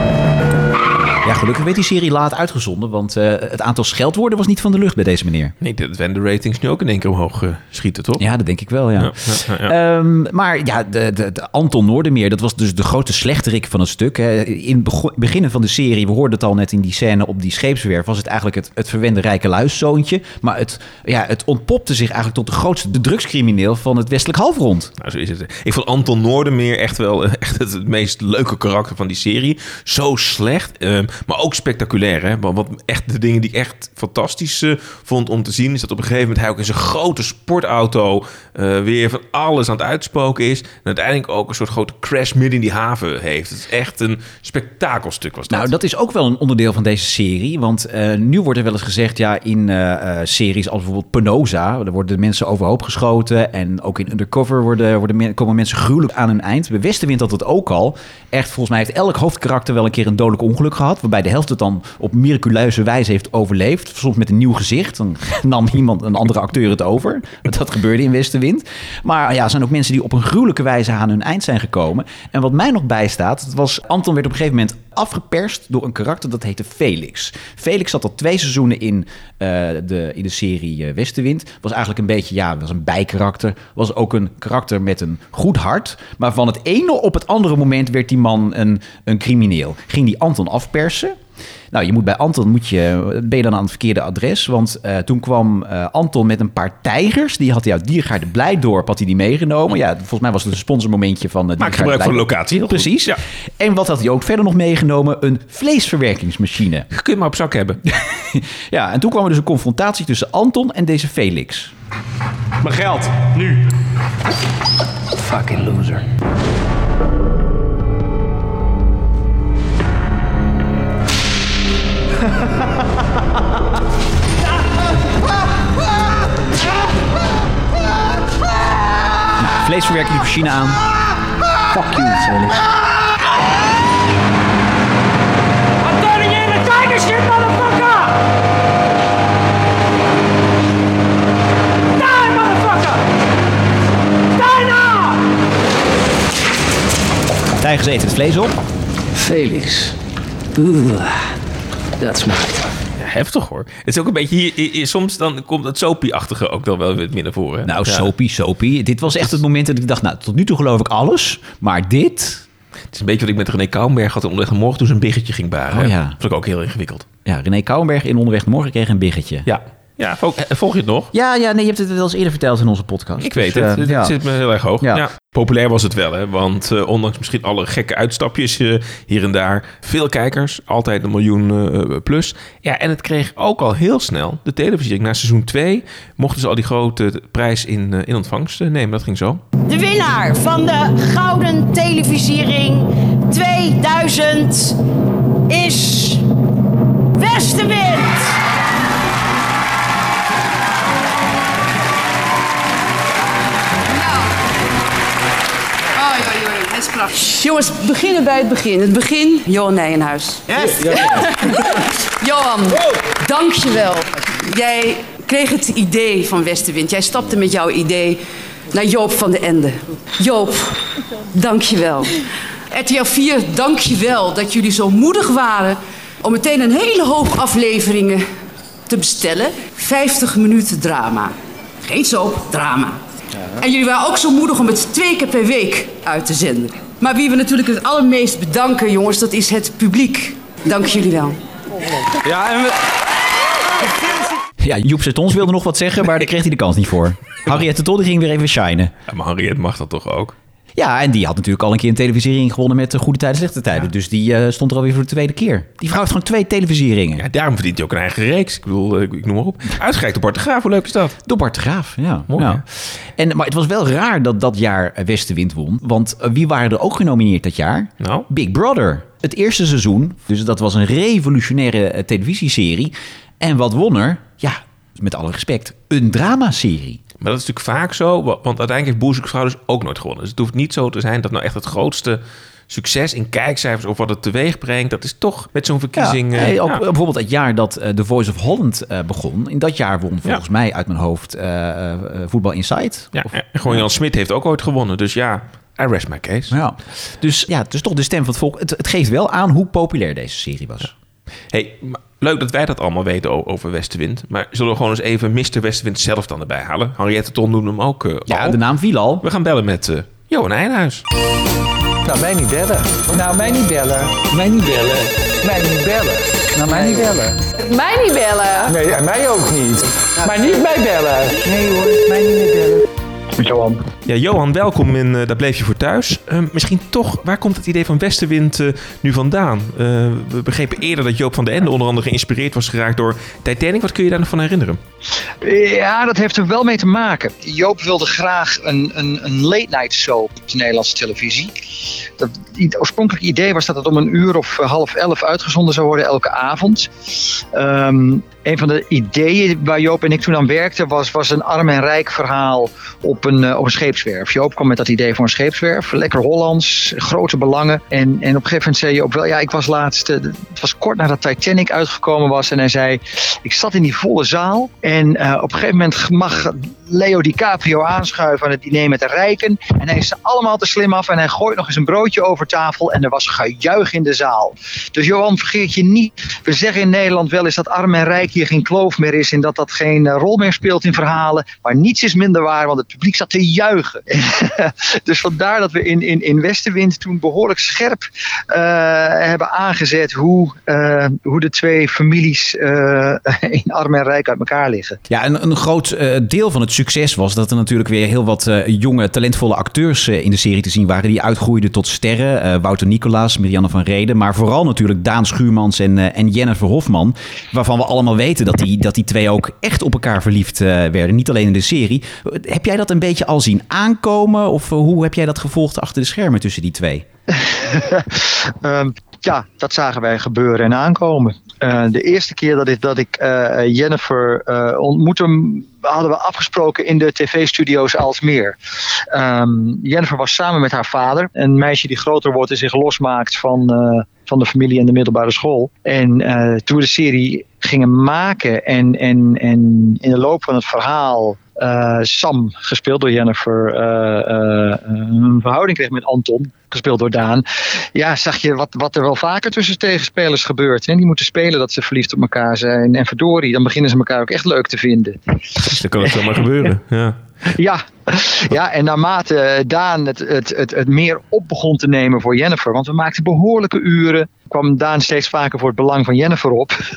Ja, gelukkig werd die serie laat uitgezonden, want eh, het aantal scheldwoorden was niet van de lucht bij deze meneer.
Nee, dat werden de ratings nu ook in één keer omhoog eh, schieten, toch?
Ja, dat denk ik wel, ja.
Ja, ja, ja,
Ehm, maar ja, de, de, de Anton Noordermeer, dat was dus de grote slechterik van het stuk. Hè. In het bego- beginnen van de serie, we hoorden het al net in die scène op die scheepswerf, was het eigenlijk het, het verwende rijke luiszoontje. Maar het, ja, het ontpopte zich eigenlijk tot de grootste de drugscrimineel van het westelijk halfrond.
Nou, zo is het. Ik vond Anton Noordermeer echt wel eh, echt het, het meest leuke karakter van die serie. Zo slecht, ehm, maar ook spectaculair. Hè? Want wat echt de dingen die ik echt fantastisch eh, vond om te zien... is dat op een gegeven moment hij ook in zijn grote sportauto... eh, weer van alles aan het uitspoken is. En uiteindelijk ook een soort grote crash midden in die haven heeft. Het is echt een spektakelstuk was dat.
Nou, dat is ook wel een onderdeel van deze serie. Want eh, nu wordt er wel eens gezegd, ja, in eh, eh, series als bijvoorbeeld Penosa, daar worden de mensen overhoop geschoten. En ook in Undercover worden, worden, men- komen mensen gruwelijk aan hun eind. Bij Westenwind had dat ook al. Echt, volgens mij heeft elk hoofdkarakter wel een keer een dodelijk ongeluk gehad. Waarbij de helft het dan op miraculeuze wijze heeft overleefd. Soms met een nieuw gezicht. Dan *laughs* nam iemand, een andere acteur het over. Want dat gebeurde in Westenwind. Maar ja, er zijn ook mensen die op een gruwelijke wijze aan hun eind zijn gekomen. En wat mij nog bijstaat, het was Anton werd op een gegeven moment afgeperst door een karakter dat heette Felix. Felix zat al twee seizoenen in, eh, de, in de serie eh, Westenwind. Was eigenlijk een beetje, ja, was een bijkarakter. Was ook een karakter met een goed hart. Maar van het ene op het andere moment werd die man een, een crimineel. Ging die Anton afpersen. Nou, je moet bij Anton moet je, ben je dan aan het verkeerde adres. Want eh, toen kwam eh, Anton met een paar tijgers. Die had hij uit Diergaarde Blijdorp had hij die meegenomen. Ja, volgens mij was het een sponsormomentje van... eh,
Maak
Diergaarde
gebruik van de
Blijdorp.
locatie, heel goed.
Precies.
Ja.
En wat had hij ook verder nog meegenomen? Een vleesverwerkingsmachine.
*laughs* Kun je het maar op zak
*laughs*
hebben.
Ja, en toen kwam er dus een confrontatie tussen Anton en deze Felix.
Mijn geld, nu.
Fucking loser.
vleesverwerking voor China aan. Fuck you, Felix.
I'm turning in the tiger shit, motherfucker! Die, motherfucker! Die now!
Tijgers eten het vlees op.
Felix. Dat smaakt.
Ja, heftig hoor. Het is ook een beetje hier, i- i- soms dan komt het soapy-achtige ook dan wel weer meer naar voren.
Nou,
Ja.
soapy, soapy. Dit was echt het moment dat ik dacht, nou, tot nu toe geloof ik alles. Maar dit...
Het is een beetje wat ik met René Kouwenberg had onderweg morgen toen ze een biggetje ging baren.
Oh ja.
Dat was ook heel ingewikkeld.
Ja, René Kouwenberg in Onderweg naar Morgen kreeg een biggetje.
Ja. Ja, volg, eh, volg je het nog?
Ja, ja, nee, je hebt het wel eens eerder verteld in onze podcast.
Ik weet
Dus,
het.
eh,
Het
ja.
zit me heel erg hoog.
Ja.
Ja. Populair was het wel, hè? Want eh, ondanks misschien alle gekke uitstapjes eh, hier en daar, veel kijkers, altijd een miljoen eh, plus. Ja, en het kreeg ook al heel snel de televisie. Na seizoen 2 mochten ze al die grote prijs in, eh, in ontvangst eh, nemen. Dat ging zo.
De winnaar van de Gouden Televisiering 2000 is Westenwind.
Oh, joh, joh, joh, het is prachtig. Jongens, beginnen bij het begin. Het begin, Johan Nijenhuis. Yes! Johan, dankjewel. Jij kreeg het idee van Westenwind. Jij stapte met jouw idee naar Joop van de Ende. Joop, dankjewel. RTL 4, dankjewel dat jullie zo moedig waren... om meteen een hele hoop afleveringen te bestellen. 50 minuten drama. Geen soap, drama. En jullie waren ook zo moedig om het twee keer per week uit te zenden. Maar wie we natuurlijk het allermeest bedanken, jongens, dat is het publiek. Dank jullie wel.
Ja, en we...
Ja, Joep Sertons wilde nog wat zeggen, maar daar kreeg hij de kans niet
*laughs*
voor. Henriette Tol die ging weer even shinen.
Ja, maar Henriette mag dat toch ook?
Ja, en die had natuurlijk al een keer een televisiering gewonnen met eh, Goede Tijden, Slechte Tijden. Dus die eh, stond er alweer voor de tweede keer. Die vrouw heeft gewoon twee televisieringen.
Ja, daarom verdient hij ook een eigen reeks. Ik bedoel, eh, ik, ik noem maar op. Uitgereikt door Bart de Graaf, hoe leuk is dat?
Door Bart de Graaf, ja. Nou, en, maar het was wel raar dat dat jaar eh, Westenwind won. Want eh, wie waren er ook genomineerd dat jaar?
Nou?
Big Brother. Het eerste seizoen. Dus dat was een revolutionaire eh, televisieserie. En wat won er? Ja, met alle respect, een dramaserie.
Maar dat is natuurlijk vaak zo, wa- want uiteindelijk heeft Boer Zoekt Vrouw dus ook nooit gewonnen. Dus het hoeft niet zo te zijn dat nou echt het grootste succes in kijkcijfers of wat het teweeg brengt, dat is toch met zo'n verkiezing.
Ja,
eh,
eh, ook,
ja.
eh, Bijvoorbeeld het jaar dat eh, The Voice of Holland eh, begon. In dat jaar won volgens mij uit mijn hoofd eh, eh, Voetbal Insight.
Ja, en gewoon Jan Smit heeft ook ooit gewonnen. Dus ja, I rest my case.
Ja. Dus ja, het is toch de stem van het volk. Het, het geeft wel aan hoe populair deze serie was.
Hey, maar leuk dat wij dat allemaal weten o- over Westenwind. Maar zullen we gewoon eens even Mr. Westenwind zelf dan erbij halen? Henriette Ton noemde hem ook eh Ja, de
naam viel al.
We gaan bellen met eh Johan Eijnhuis.
Nou, mij niet bellen. Nou, mij niet bellen. Mij niet bellen. Mij niet bellen. Nou, mij niet bellen.
Mij niet bellen.
Nee, en mij ook niet. Maar niet mij bellen. Nee hoor, mij niet meer bellen.
Johan. Ja, Johan, welkom in eh, Daar Bleef Je Voor Thuis. Eh, misschien toch, waar komt het idee van Westenwind eh, nu vandaan? Eh, we begrepen eerder dat Joop van den Ende onder andere geïnspireerd was geraakt door Titanic. Wat kun je daar nog van herinneren?
Ja, dat heeft er wel mee te maken. Joop wilde graag een, een, een late-night soap op de Nederlandse televisie. Dat, het oorspronkelijke idee was dat het om een uur of eh, half elf uitgezonden zou worden elke avond. Ehm, een van de ideeën waar Joop en ik toen aan werkten was, was een arm en rijk verhaal op een, eh, op een scheepswerf. Joop kwam met dat idee voor een scheepswerf. Lekker Hollands, grote belangen. En, en op een gegeven moment zei Joop wel, ja, ik was laatst, eh, het was kort nadat Titanic uitgekomen was. En hij zei, ik zat in die volle zaal. En eh, op een gegeven moment mag Leo DiCaprio aanschuiven aan het diner met de rijken. En hij is er allemaal te slim af. En hij gooit nog eens een broodje over tafel. En er was gejuich in de zaal. Dus Johan, vergeet je niet. We zeggen in Nederland wel eens dat arm en rijk hier geen kloof meer is. En dat dat geen eh, rol meer speelt in verhalen. Maar niets is minder waar, want het publiek zat te juichen. *laughs* dus vandaar dat we in, in, in Westenwind toen behoorlijk scherp eh, hebben aangezet. Hoe, eh, hoe de twee families eh, *laughs* in arm en rijk uit elkaar liggen.
Ja, een, een groot eh, deel van het succes was dat er natuurlijk weer heel wat eh, jonge, talentvolle acteurs eh, in de serie te zien waren. Die uitgroeiden tot sterren. Eh, Wouter Nicolaas, Marianne van Reden. Maar vooral natuurlijk Daan Schuurmans en, eh, en Jennifer Hofman. Waarvan we allemaal weten dat die, dat die twee ook echt op elkaar verliefd eh, werden. Niet alleen in de serie. Eh, Heb jij dat een beetje al zien aankomen? Of eh, hoe heb jij dat gevolgd achter de schermen tussen die twee?
Ehm, ja, dat zagen wij gebeuren en aankomen. eh, de eerste keer dat ik, dat ik eh, Jennifer eh, ontmoette, m- hadden we afgesproken in de tv-studio's Alsmeer. Ehm Jennifer was samen met haar vader, een meisje die groter wordt en zich losmaakt van, eh, van de familie en de middelbare school. En eh, toen we de serie gingen maken en, en, en in de loop van het verhaal eh, Sam, gespeeld door Jennifer, eh, eh, een verhouding kreeg met Anton, gespeeld door Daan. Ja, zag je wat, wat er wel vaker tussen tegenspelers gebeurt. Hè? Die moeten spelen dat ze verliefd op elkaar zijn. En verdorie, dan beginnen ze elkaar ook echt leuk te vinden.
Dat kan ook zomaar gebeuren. *laughs* Ja.
Ja, ja en naarmate eh, Daan het, het, het, het meer op begon te nemen voor Jennifer, want we maakten behoorlijke uren, kwam Daan steeds vaker voor het belang van Jennifer op. *laughs*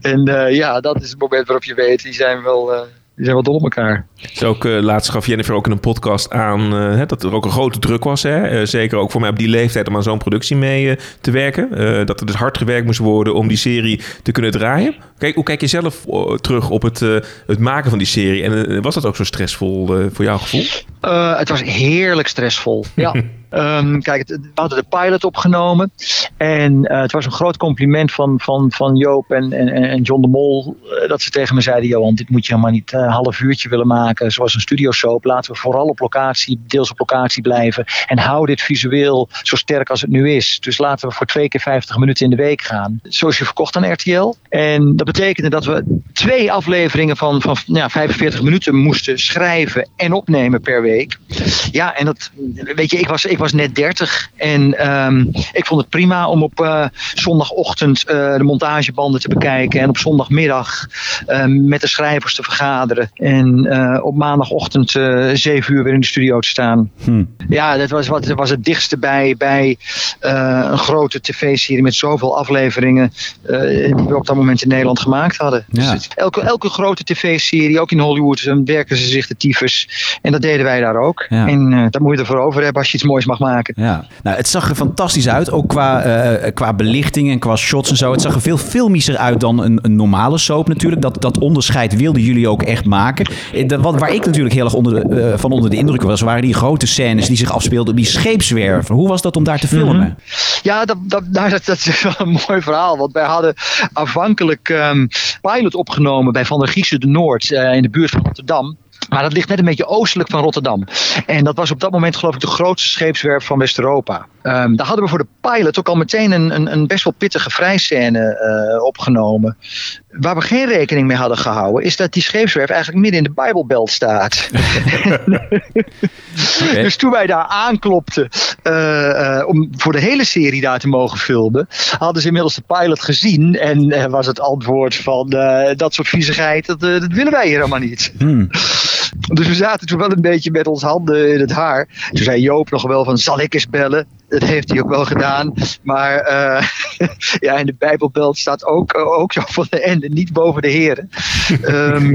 en eh, ja, dat is het moment waarop je weet, die zijn wel, eh, die zijn wel dol op elkaar.
Dus ook, eh, laatst gaf Jennifer ook in een podcast aan eh, hè, dat er ook een grote druk was. Hè? Eh, zeker ook voor mij op die leeftijd om aan zo'n productie mee eh, te werken. Eh, dat er dus hard gewerkt moest worden om die serie te kunnen draaien. Kijk, hoe kijk je zelf eh, terug op het, eh, het maken van die serie? En eh, was dat ook zo stressvol eh, voor jouw gevoel?
Eh, het was heerlijk stressvol. Ja. *laughs* Ehm, kijk, het- we hadden de pilot opgenomen. En eh, het was een groot compliment van, van, van Joop en, en, en John de Mol. eh, dat ze tegen me zeiden: Johan, dit moet je helemaal niet eh, een half uurtje willen maken. Zoals een studiosoap. Laten we vooral op locatie, deels op locatie blijven. En hou dit visueel zo sterk als het nu is. Dus laten we voor twee keer 50 minuten in de week gaan. Zo is je verkocht aan RTL. En dat betekende dat we twee afleveringen van, van ja, 45 minuten moesten schrijven en opnemen per week. Ja, en dat, weet je, ik was, ik was net 30 en ehm, ik vond het prima om op eh, zondagochtend eh, de montagebanden te bekijken en op zondagmiddag ehm, met de schrijvers te vergaderen en eh, op maandagochtend eh 7 uur weer in de studio te staan. Ja, dat was, wat, dat was het dichtste bij, bij eh, een grote tv-serie met zoveel afleveringen eh, die we op dat moment in Nederland gemaakt hadden. Dus het- elke, elke grote tv-serie, ook in Hollywood, eh, werken ze zich de tyfus. En dat deden wij daar ook.
Ja.
En eh daar moet je er voor over hebben als je iets moois mag maken.
Ja. Nou, het zag er fantastisch uit, ook qua, eh, qua belichting en qua shots en zo. Het zag er veel filmischer uit dan een, een normale soap natuurlijk. Dat, dat onderscheid wilden jullie ook echt maken. Eh, Dat, wat, waar ik natuurlijk heel erg onder de, eh, van onder de indruk was, waren die grote scènes die zich afspeelden op die scheepswerven. Hoe was dat om daar te
Mhm.
filmen?
Ja, dat, dat, nou, dat, dat is wel een mooi verhaal. Want wij hadden aanvankelijk ehm pilot opgenomen bij Van der Giesen de Noord eh, in de buurt van Rotterdam. Maar dat ligt net een beetje oostelijk van Rotterdam. En dat was op dat moment geloof ik de grootste scheepswerf van West-Europa. Ehm, daar hadden we voor de pilot ook al meteen een, een, een best wel pittige vrijscène eh, opgenomen. Waar we geen rekening mee hadden gehouden, is dat die scheepswerf eigenlijk midden in de Bijbelbelt staat. *laughs* Dus toen wij daar aanklopten eh, eh, om voor de hele serie daar te mogen filmen, hadden ze inmiddels de pilot gezien en eh, was het antwoord van eh, dat soort viezigheid, dat, eh, dat willen wij hier helemaal niet. Dus we zaten toen wel een beetje met ons handen in het haar. Toen zei Joop nog wel van, zal ik eens bellen? Dat heeft hij ook wel gedaan. Maar eh, ja, in de Bijbelbelt staat ook, ook zo van de ende, niet boven de heren. Ehm,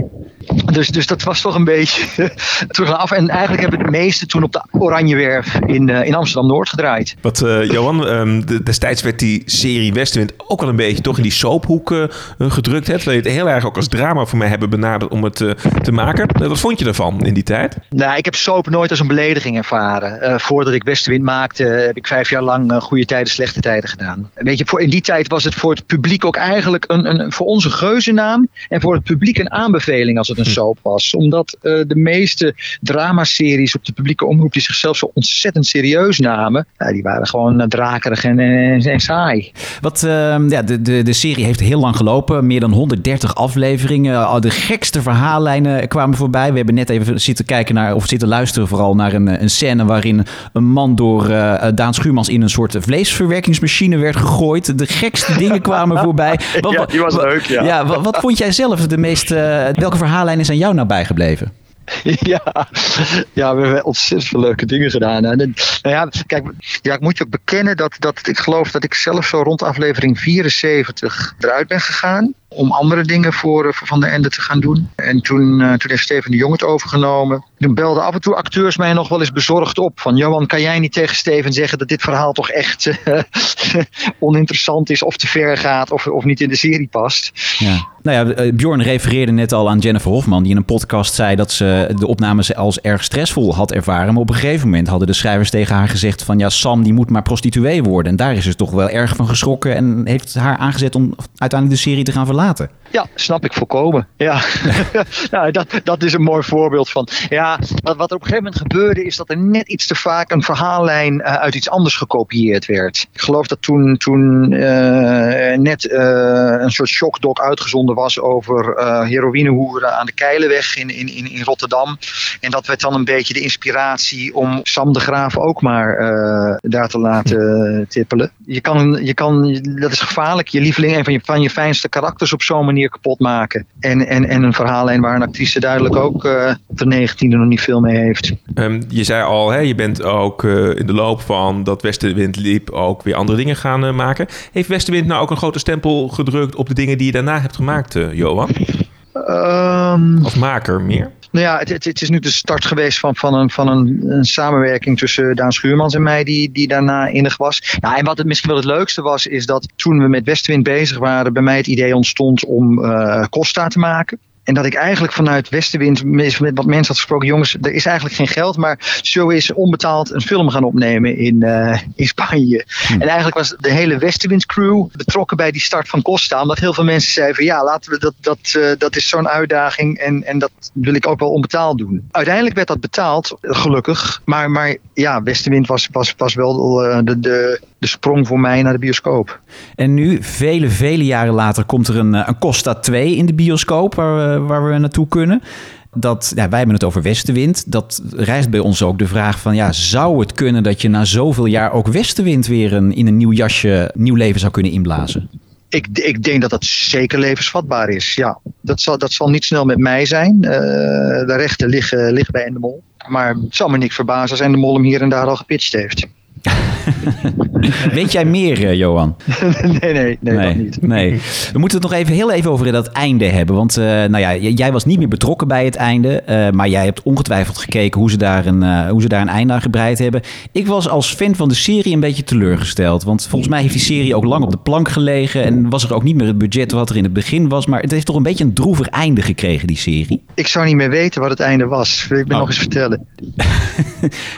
dus, dus dat was toch een beetje *laughs* terug naar af. En eigenlijk hebben we het meeste toen op de Oranjewerf in, eh, in Amsterdam-Noord gedraaid.
Wat, eh, Johan, ehm, de- destijds werd die serie Westenwind ook wel een beetje toch in die soaphoek eh, eh, gedrukt. Hè? Terwijl je het heel erg ook als drama voor mij hebben benaderd om het eh, te maken. Eh, wat vond je ervan in die tijd?
Nou, ik heb soap nooit als een belediging ervaren. Eh, voordat ik Westenwind maakte, heb ik vijf jaar lang eh, goede tijden, slechte tijden gedaan. Weet je, voor, in die tijd was het voor het publiek ook eigenlijk een, een, voor ons een geuzennaam. En voor het publiek een aanbeveling als het een soap was. Omdat eh, de meeste dramaseries op de publieke omroep die zichzelf zo ontzettend serieus namen, ja, die waren gewoon eh, drakerig en, en, en saai.
Wat, ehm, ja, de, de, de serie heeft heel lang gelopen. Meer dan 130 afleveringen. Eh, Al De gekste verhaallijnen kwamen voorbij. We hebben net even zitten kijken naar, of zitten luisteren vooral naar een, eh, een scène waarin een man door eh, Daan Schuurmans in een soort vleesverwerkingsmachine werd gegooid. De gekste dingen
*laughs*
kwamen voorbij. Wat,
Ja, die was
wat-
leuk, ja.
wa- wat, vond jij zelf de meest, eh, welke verhaallijn is aan jou nou bijgebleven?
ja. ja, we hebben ontzettend veel leuke dingen gedaan. En, en, nou ja, kijk, ja, ik moet je ook bekennen dat, dat ik geloof dat ik zelf zo rond aflevering 74 eruit ben gegaan. om andere dingen voor, eh, voor Van der Ende te gaan doen. En toen, eh, toen heeft Steven de Jong het overgenomen. Toen belden af en toe acteurs mij nog wel eens bezorgd op. Van Johan, kan jij niet tegen Steven zeggen dat dit verhaal toch echt eh, *laughs* oninteressant is of te ver gaat of, of niet in de serie past?
Ja. Nou ja, eh, Bjorn refereerde net al aan Jennifer Hofman, die in een podcast zei dat ze de opnames als erg stressvol had ervaren. Maar op een gegeven moment hadden de schrijvers tegen haar gezegd van ja, Sam die moet maar prostituee worden. En daar is ze toch wel erg van geschrokken en heeft haar aangezet om uiteindelijk de serie te gaan verlaten.
Ja, snap ik volkomen. *laughs* Ja. nou, dat, dat is een mooi voorbeeld van. Ja, wat, wat er op een gegeven moment gebeurde, is dat er net iets te vaak een verhaallijn eh, uit iets anders gekopieerd werd. Ik geloof dat toen, toen eh, net eh, een soort shockdoc uitgezonden was over eh heroïnehoeren aan de Keilenweg in, in, in, in Rotterdam. En dat werd dan een beetje de inspiratie om Sam de Graaf ook maar eh, daar te laten eh, tippelen. Je kan, je kan, dat is gevaarlijk, je lieveling en van je, van je fijnste karakters op zo'n manier kapot maken. En, en, en een verhaallijn waar een actrice duidelijk ook eh, op de negentiende nog niet veel mee heeft.
Ehm, je zei al, hè, je bent ook eh, in de loop van dat Westenwind liep ook weer andere dingen gaan eh, maken. Heeft Westenwind nou ook een grote stempel gedrukt op de dingen die je daarna hebt gemaakt, eh, Johan?
Ehm,
Als maker meer?
Nou ja, het, het, het is nu de start geweest van, van, een, van een, een samenwerking tussen Daan Schuurmans en mij, die, die daarna innig was. Nou, en wat het misschien wel het leukste was, is dat toen we met Westwind bezig waren, bij mij het idee ontstond om eh, Costa te maken. En dat ik eigenlijk vanuit Westenwind met met wat mensen had gesproken. Jongens, er is eigenlijk geen geld. Maar zo is onbetaald een film gaan opnemen in, eh, in Spanje. En eigenlijk was de hele Westenwind crew betrokken bij die start van Costa. Omdat heel veel mensen zeiden van ja, laten we dat, dat, eh, dat is zo'n uitdaging. En, en dat wil ik ook wel onbetaald doen. Uiteindelijk werd dat betaald, eh, gelukkig. Maar, maar ja, Westenwind was, was, was wel eh, de, de, de sprong voor mij naar de bioscoop.
En nu, vele, vele jaren later, komt er een, eh, een Costa 2 in de bioscoop waar, we- waar we naartoe kunnen. Dat, ja, wij hebben het over Westenwind. Dat rijst bij ons ook de vraag van... Ja, zou het kunnen dat je na zoveel jaar ook Westenwind weer een, in een nieuw jasje... nieuw leven zou kunnen inblazen?
Ik, ik denk dat dat zeker levensvatbaar is. Ja, dat zal, dat zal niet snel met mij zijn. Eh, de rechten liggen, liggen bij Endemol. Maar het zal me niks verbazen als Endemol hem hier en daar al gepitcht heeft. *laughs*
Weet jij meer, eh, Johan?
nee, nee, nee, dat niet. *laughs*
Nee. We moeten het nog even heel even over dat einde hebben. Want eh, nou ja, j- jij was niet meer betrokken bij het einde. eh, maar jij hebt ongetwijfeld gekeken hoe ze, daar een, eh, hoe ze daar een einde aan gebreid hebben. Ik was als fan van de serie een beetje teleurgesteld. Want volgens mij heeft die serie ook lang op de plank gelegen. En was er ook niet meer het budget wat er in het begin was. Maar het heeft toch een beetje een droevig einde gekregen, die serie.
Ik zou niet meer weten wat het einde was. Wil ik me nog eens vertellen?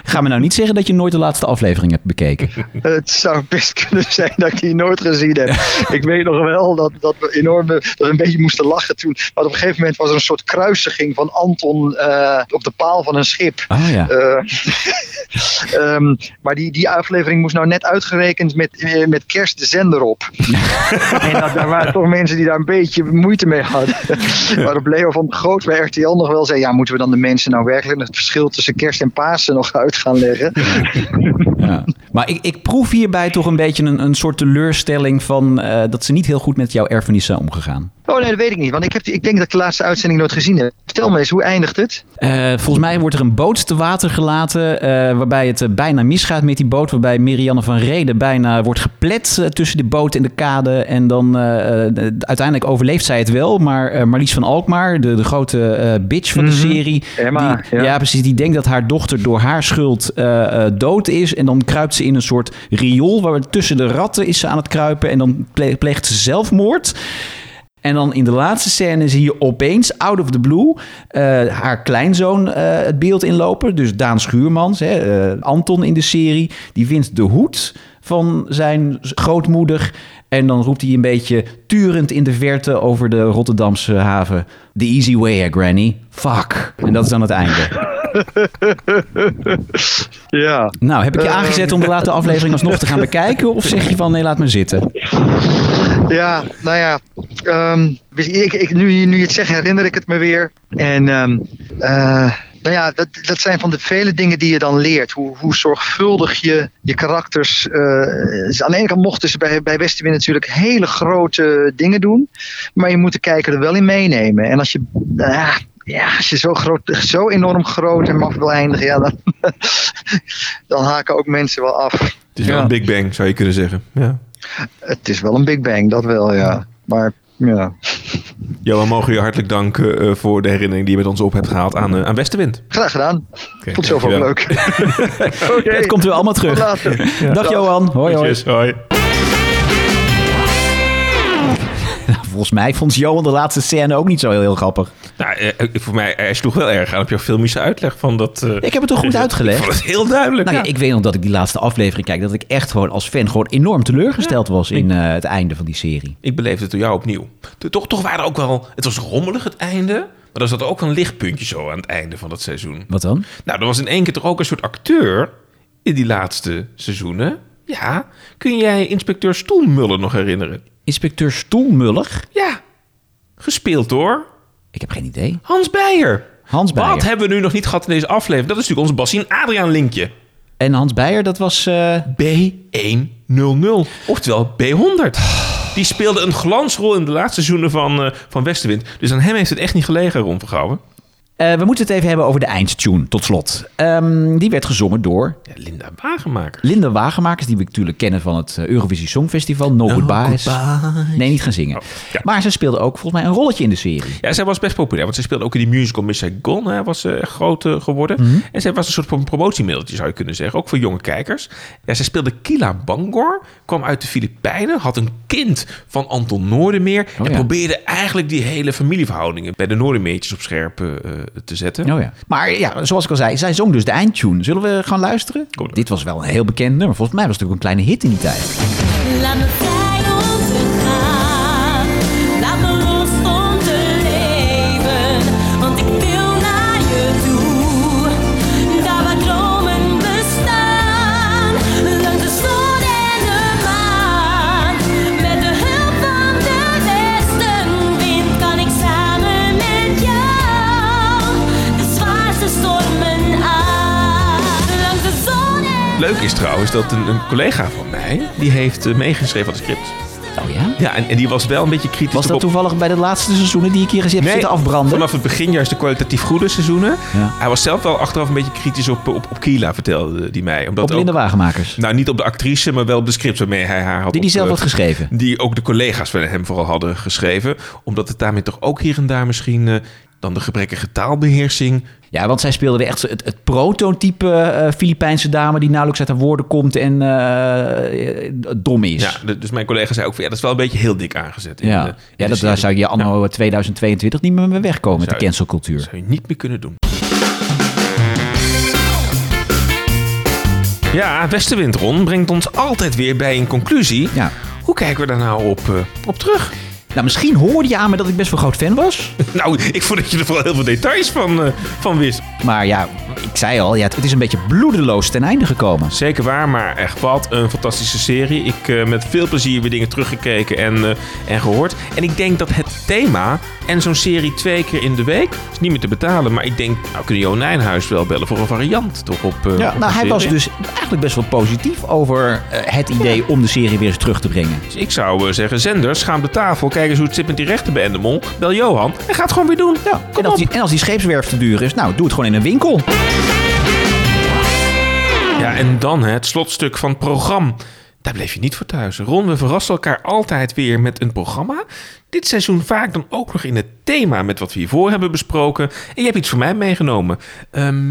Ga me nou niet zeggen dat je nooit de laatste aflevering hebt
*laughs*
bekeken.
Het zou best kunnen zijn dat ik die nooit gezien heb. ik weet nog wel dat, dat we enorm dat we een beetje moesten lachen toen. Maar op een gegeven moment was er een soort kruisiging van Anton eh, op de paal van een schip.
Ah, ja.
Eh, *laughs* ehm, maar die, die aflevering moest nou net uitgerekend met, eh, met kerst de zender op. en dat, daar waren toch mensen die daar een beetje moeite mee hadden. Waarop Leo van de Groot bij RTL nog wel zei... ja, moeten we dan de mensen nou werkelijk het verschil tussen kerst en Pasen nog uit gaan leggen? Eh,
Ja. Maar ik, ik proef hierbij toch een beetje een, een soort teleurstelling van eh, dat ze niet heel goed met jouw erfenis zijn omgegaan.
Oh nee, dat weet ik niet. Want ik, heb, die- ik denk dat ik de laatste uitzending nooit gezien heb. Vertel me eens, hoe eindigt het?
Eh, volgens mij wordt er een boot te water gelaten. eh, waarbij het eh, bijna misgaat met die boot. Waarbij Marianne van Reden bijna wordt geplet eh, tussen de boot en de kade. En dan eh, eh, d- uiteindelijk overleeft zij het wel. Maar eh Marlies van Alkmaar, de, de grote eh, bitch van de serie.
Emma,
die, ja. precies. Die denkt dat haar dochter door haar schuld eh, eh, dood is. En dan kruipt ze in een soort riool. Waar tussen de ratten is ze aan het kruipen. En dan ple- pleegt ze zelfmoord. En dan in de laatste scène zie je opeens, out of the blue, eh, haar kleinzoon eh, het beeld inlopen. Dus Daan Schuurmans, hè, eh, Anton in de serie, die wint de hoed van zijn grootmoeder. En dan roept hij een beetje turend in de verte over de Rotterdamse haven. The easy way, hè, granny. Fuck. En dat is dan het einde.
*laughs* Ja.
Nou, heb ik je
Eh.
aangezet om de late aflevering alsnog te gaan bekijken? Of zeg je van, nee, laat me zitten?
Ja, nou ja. ehm, ik, ik, nu, je- nu je het zegt, herinner ik het me weer. En ehm, eh, nou ja, dat, dat zijn van de vele dingen die je dan leert. Hoe, hoe zorgvuldig je je karakters... eh, is- aan de ene kant mochten ze bij, bij Westenwind natuurlijk hele grote dingen doen. Maar je moet de kijker er wel in meenemen. En als je... nou ja, ja, als je zo, groot, zo enorm groot en maf wil eindigen, ja, dan, *laughs* dan haken ook mensen wel af.
Het is wel een Big Bang, zou je kunnen zeggen. Ja.
Het is wel een Big Bang, dat wel, ja. Maar Ja.
Johan, mogen je hartelijk danken eh, voor de herinnering die je met ons op hebt gehaald aan, eh, aan Westenwind.
Graag gedaan. Tot zover
dankjewel.
leuk.
*laughs*
*laughs*
Het komt weer allemaal terug.
Tot later. Ja.
Dag
Dag.
Johan. Hoi hoi.
Yes, hoi.
Nou, volgens mij vond Johan de laatste scène ook niet zo heel, heel grappig.
Nou, eh, ik- voor mij, hij sloeg wel erg aan op jouw filmische uitleg van dat... eh,
Ik heb het *laughs* toch goed
*laughs* ik-
uitgelegd?
Ik vond het heel duidelijk.
Nou ja,
ja.
Ik weet nog dat ik die laatste aflevering kijk. Dat ik echt gewoon als fan gewoon enorm teleurgesteld was in eh, het einde van die serie.
Ik beleefde het door jou opnieuw. To- Toch, toch waren er ook wel... Het was rommelig het einde. Maar er zat ook een lichtpuntje zo aan het einde van dat seizoen.
Wat dan?
Nou, er was in één keer toch ook een soort acteur in die laatste seizoenen. Ja, kun jij inspecteur Stoelmuller nog herinneren?
Inspecteur Stoelmuller?
Ja, gespeeld door...
Ik heb geen idee.
Hans Beijer.
Hans Beijer.
Wat hebben we nu nog niet gehad in deze aflevering? Dat is natuurlijk ons Bassie en Adriaan linkje.
En Hans Beijer, dat was... eh,
B100. Oftewel B100. Die speelde een glansrol in de laatste seizoenen van, eh, van Westenwind. Dus aan hem heeft het echt niet gelegen, Ron Vergouwen.
eh, we moeten het even hebben over de eindtune, tot slot. Ehm, die werd gezongen door
Linda Wagenmaker.
Linda Wagenmakers, die we natuurlijk kennen van het eh, Eurovisie Songfestival. No, Goodbyes.
Goodbyes.
Nee, niet gaan zingen. Maar ze speelde ook volgens mij een rolletje in de serie.
Ja, zij was best populair, want zij speelde ook in die musical Miss Saigon. Hè, was ze echt groot eh, geworden. En zij was een soort van promotiemiddeltje, zou je kunnen zeggen. Ook voor jonge kijkers. Ja, zij speelde Kila Bangor, kwam uit de Filipijnen, had een kind van Anton Noordermeer. en
ja.
probeerde eigenlijk die hele familieverhoudingen bij de Noordermeertjes op scherp eh, eh, te zetten.
Oh ja. Maar ja, zoals ik al zei, zij zong dus de eindtune. Zullen we gaan luisteren? Dit was wel een heel bekend nummer. Volgens mij was het ook een kleine hit in die tijd.
Laat me vrij ondergaan. Laat me los om te leven. Want ik wil naar je toe. Daar waar dromen bestaan. Langs de zon en de maan. Met de hulp van de westenwind kan ik samen met jou. De zwaarste stormen aan. Langs de zon en
Leuk is trouwens dat een, een collega van mij, die heeft eh, meegeschreven aan het script.
Oh ja?
Ja, en, en die was wel een beetje kritisch.
Was dat
erop-
toevallig bij de laatste seizoenen die ik hier eens heb zitten afbranden?
Vanaf het begin juist de kwalitatief goede seizoenen.
Ja.
Hij was zelf wel achteraf een beetje kritisch op, op, op Kila, vertelde hij mij. Omdat
Op Linda
ook-
Wagenmakers.
Nou, niet op de actrice, maar wel op de script waarmee hij haar had...
Die die
op-
zelf
eh,
had geschreven.
Die ook de collega's van hem vooral hadden geschreven. Omdat het daarmee toch ook hier en daar misschien... eh, dan de gebrekkige taalbeheersing.
Ja, want zij speelde weer echt zo het, het prototype eh, Filipijnse dame die nauwelijks uit haar woorden komt en eh, eh, dom is.
Ja,
Ja,
d- dus mijn collega zei ook... van, Ja, dat is wel een beetje heel dik aangezet. in de-
ja.
in de
dat, daar
serie.
zou je anno 2022 niet meer mee wegkomen met
dus, eh, Zou
de cancelcultuur.
je- zou je niet meer kunnen doen. Ja, Westenwind, Ron, brengt ons altijd weer bij een conclusie. Hoe kijken we daar nou op, eh, op terug?
Nou, misschien hoorde je aan me dat ik best wel groot fan was.
nou, ik vond dat je er vooral heel veel details van, eh, van wist.
Maar ja, ik zei al, ja, het het is een beetje bloedeloos ten einde gekomen.
Zeker waar, maar echt wat een fantastische serie. Ik heb met veel plezier weer dingen teruggekeken en, eh, en gehoord. En ik denk dat het thema en zo'n serie twee keer in de week is niet meer te betalen. Maar ik denk, nou kunnen Johan Nijnhuis wel bellen voor een variant toch op. eh, op
Ja,
een
nou, hij was
serie?
dus eigenlijk best wel positief over eh, het idee om de serie weer eens terug te brengen.
Dus ik zou eh, zeggen, zenders, schaam de tafel. Kijk eens hoe het zit met die rechten bij Endemol. Bel Johan en ga het gewoon weer doen. Ja,
En als, die, en als die scheepswerf te duur is, nou, doe het gewoon in een winkel.
Ja, en dan hè, het slotstuk van het programma. Daar bleef je niet voor thuis. Ron, we verrassen elkaar altijd weer met een programma. Dit seizoen vaak dan ook nog in het thema met wat we hiervoor hebben besproken. En je hebt iets voor mij meegenomen. Ehm,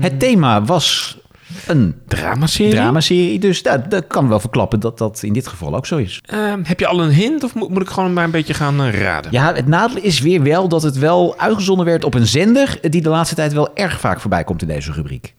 Het thema was een
dramaserie.
dramaserie. Dus dat, dat kan wel verklappen dat dat in dit geval ook zo is.
Ehm, heb je al een hint of moet, moet ik gewoon maar een beetje gaan eh, raden?
Ja, het nadeel is weer wel dat het wel uitgezonden werd op een zender... die de laatste tijd wel erg vaak voorbij komt in deze rubriek.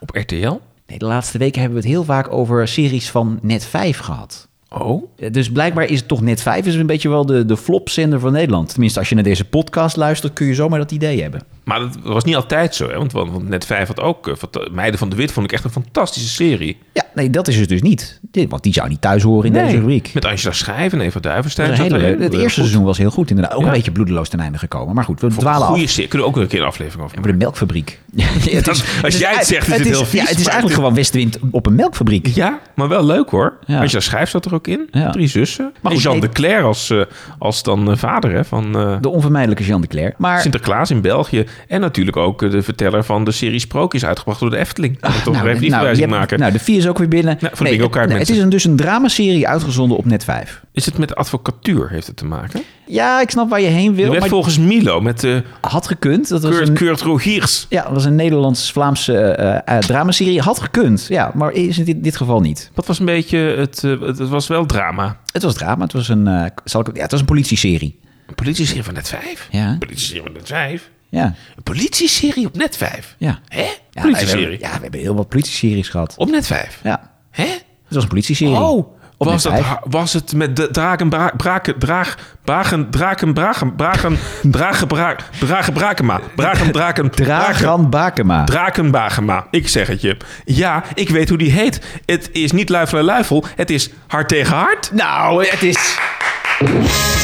Op RTL?
Nee, de laatste weken hebben we het heel vaak over series van Net 5 gehad.
Oh?
Dus blijkbaar is het toch Net 5 is een beetje wel de, de flopzender van Nederland. Tenminste, als je naar deze podcast luistert, kun je zomaar dat idee hebben.
Maar dat was niet altijd zo, hè? Want, want want Net 5 had ook... eh, fanta- Meiden van de Wit vond ik echt een fantastische serie.
Ja, nee, dat is het dus niet. Dit- Want die zou niet thuis horen in deze rubriek.
Met Angela Schijf en Eva
Dat
Duivenstein.
is een
zat
hele
er-
leuke. Het
eh,
eerste
goed.
seizoen was heel goed inderdaad. Ook
Ja.
een beetje bloedeloos ten einde gekomen. Maar goed, we
Voor
dwalen af.
Goede serie. Kunnen we ook een keer een aflevering over
Over de
*laughs*
melkfabriek. Ja, *laughs* het
Dat- als jij het zegt, is het heel vies,
Ja, het is
maar-
eigenlijk gewoon Westwind op een melkfabriek.
Ja, maar wel leuk hoor.
Ja.
Angela Schijf zat er ook in.
Ja.
Drie zussen.
Maar
Maar
goed,
en Jean
nee.
de Cler als, eh, als dan eh, vader hè, van eh,
De onvermijdelijke Jean de Cler. Maar
Sinterklaas in België. En natuurlijk ook eh, de verteller van de serie Sprookjes, uitgebracht door de Efteling. Ah, toch even die
nou, je
verwijzing
hebt-
maken.
nou, de vier is ook weer binnen.
Nou, van
het,
de winkelkaart,
nee, het is
mensen.
een, dus een dramaserie uitgezonden op net 5.
Is het met de advocatuur, heeft het te maken?
Ja, ik snap waar je heen wil.
Er werd
maar-
volgens Milo met de
had gekund. Dat was
Kurt,
een-
Kurt Rogiers.
Ja, dat was een Nederlands-Vlaamse eh, eh, dramaserie. Had gekund, ja, maar is het in dit geval niet.
Dat was een beetje, het, eh, het het was wel drama.
Het was drama, het was een, eh, zal ik, ja, het was een politie-serie.
Een politie-serie van net vijf?
Ja.
Een politie-serie van net vijf?
Ja.
Een politie-serie op net vijf?
Ja.
Hè?
Ja,
politie-serie?
we hebben- ja, we hebben heel wat politie-series gehad.
Op net 5?
Ja.
Hè?
Het was een politie-serie.
Oh,
Op
was,
Net
dat,
5.
ha- was het met de draken, bra, braken, draag, bragen, draken, bragen,
*laughs*
bragen, dragen, bra, dragen, brakema, bragen, draken,
Dragan Bakema.
draken, bagema. Ik zeg het je. Ja, ik weet hoe die heet. Het is niet luifel en luifel, het is hart tegen hart.
Nou, het is...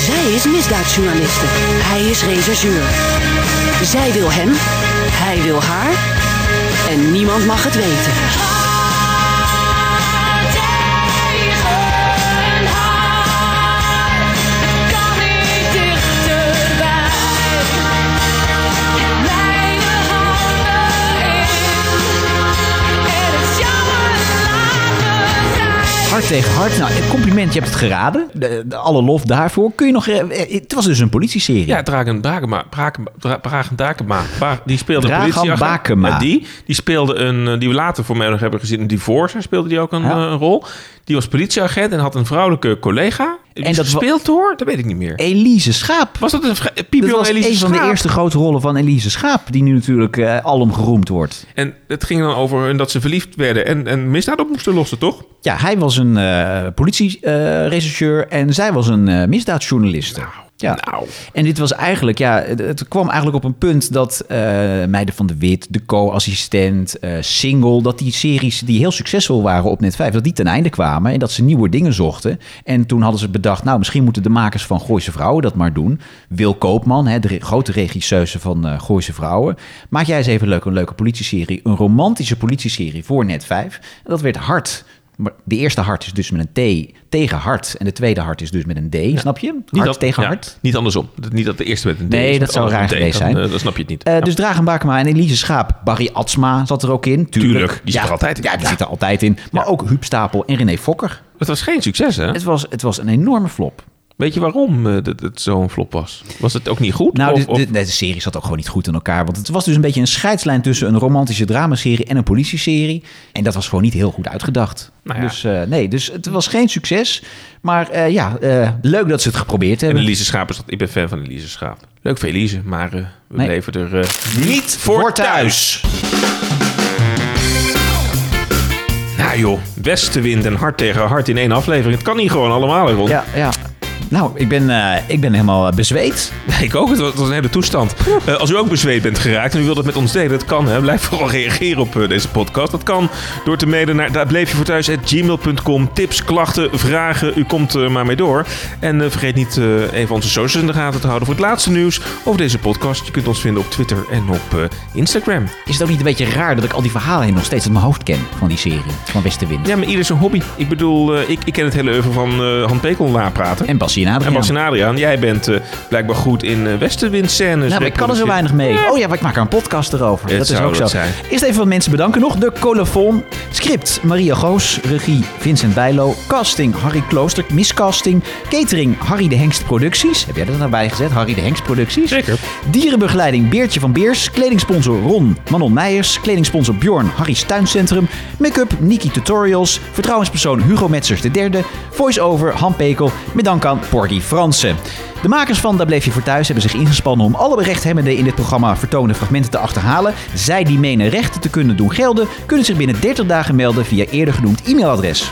Zij is misdaadjournaliste. Hij is rechercheur. Zij wil hem. Hij wil haar. En niemand mag het weten.
Hart tegen hart. Nou, een compliment, je hebt het geraden. De, de- alle lof daarvoor. Kun je nog... eh, eh, het was dus een politie-serie.
Ja, Dragan Bakema, Braken, Dra- Bragen Dakema. Ba- Die speelde
Dragan
een politieagent.
Bakema.
Ja, die. Die speelde een, eh, die we later voor mij nog hebben gezien, een divorcer speelde die ook een,
Ja.
eh, een rol. Die was politieagent en had een vrouwelijke collega. En dat speelt door? Dat weet ik niet meer.
Elise Schaap.
Was dat een vri- eh,
Eh, dat
piepjong
was
Elise
een van de
Schaap?
eerste grote rollen van Elise Schaap. Die nu natuurlijk eh, alom geroemd wordt.
En het ging dan over hun dat ze verliefd werden en, en misdaad op moesten lossen, toch?
Ja, hij was een eh politierechercheur en zij was een eh misdaadjournaliste. ja. En dit was eigenlijk, ja, het, het kwam eigenlijk op een punt dat eh Meiden van de Wit, de co-assistent, eh, Single, dat die series die heel succesvol waren op net 5, dat die ten einde kwamen en dat ze nieuwe dingen zochten. En toen hadden ze bedacht, nou, misschien moeten de makers van Gooise Vrouwen dat maar doen. Wil Koopman, hè, de re- grote regisseuse van eh Gooise Vrouwen. Maak jij eens even leuk een leuke politieserie, een romantische politieserie voor net 5. En dat werd hard. Maar de eerste hart is dus met een T tegen hart. En de tweede hart is dus met een D, snap je? Hart tegen
ja,
hart.
Niet andersom. Dat- Niet dat de eerste werd een D
Nee,
is,
dat
maar
zou
als
raar
een D,
geweest
dan,
zijn.
eh, dan snap je het niet.
Eh, Dus Dragan Bakema en Elise Schaap. Barry Atsma zat er ook in. Tuurlijk.
Tuurlijk, die zit
ja,
er altijd in.
Ja, die zit er altijd in. Maar ook Huub Stapel en René Fokker.
Het was geen succes, hè?
Het was, het was een enorme flop.
Weet je waarom eh, dat het zo'n flop was? Was het ook niet goed?
Nou,
Of-
de,
of-
de, nee, de serie zat ook gewoon niet goed in elkaar. Want het was dus een beetje een scheidslijn tussen een romantische dramaserie en een politieserie. En dat was gewoon niet heel goed uitgedacht.
Nou ja.
Dus eh, nee, dus het was geen succes. Maar eh, ja, eh, leuk dat ze het geprobeerd
En
hebben.
Elise Schaap is dat. Ik ben fan van Elise Schaap. Leuk voor Elise, maar eh, we
Nee.
bleven er eh, niet voor, thuis. Nou joh, westenwind en hart tegen hart in één aflevering. Het kan niet gewoon allemaal, hè, Ron.
Ja, ja. Nou, ik ben, eh, ik ben helemaal eh, bezweet.
*laughs* Ik ook, het was, het was een hele toestand. Eh, als u ook bezweet bent geraakt en u wilt dat met ons delen, dat kan. Hè. Blijf vooral reageren op eh, deze podcast. Dat kan door te mailen naar daar bleef je voor thuis gmail.com. Tips, klachten, vragen, u komt er maar mee door. En eh, vergeet niet eh, even onze socials in de gaten te houden voor het laatste nieuws over deze podcast. Je kunt ons vinden op Twitter en op eh, Instagram.
Is het ook niet een beetje raar dat ik al die verhalen hier nog steeds uit mijn hoofd ken van die serie van Westerwind?
Ja, maar ieder zijn hobby. Ik bedoel, eh, ik, ik ken het hele oeuvre van eh Han Pekel napraten.
En Bassie en Adriaan.
En Bas en Adriaan, jij bent eh, blijkbaar goed in eh westenwindscènes.
Nou, maar ik kan er zo weinig mee. Oh ja, maar ik maak er een podcast erover.
Het
dat is
zou
ook zo.
dat zijn.
Eerst even wat mensen bedanken nog. De Colofon, script Maria Goos, regie Vincent Bijlo, casting Harry Klooster, miscasting, catering Harry de Hengst Producties. Heb jij dat erbij gezet? Harry de Hengst Producties. Zeker. Dierenbegeleiding Beertje van Beers, kledingsponsor Ron Manon Meijers, kledingsponsor Bjorn Harry's Tuincentrum, make-up Niki Tutorials, vertrouwenspersoon Hugo Metsers III, voice-over Han Pekel, met dank aan Porgy Fransen. De makers van Daar Bleef Je Voor Thuis hebben zich ingespannen om alle rechthebbenden in dit programma vertoonde fragmenten te achterhalen. Zij die menen rechten te kunnen doen gelden, kunnen zich binnen 30 dagen melden via eerder genoemd e-mailadres.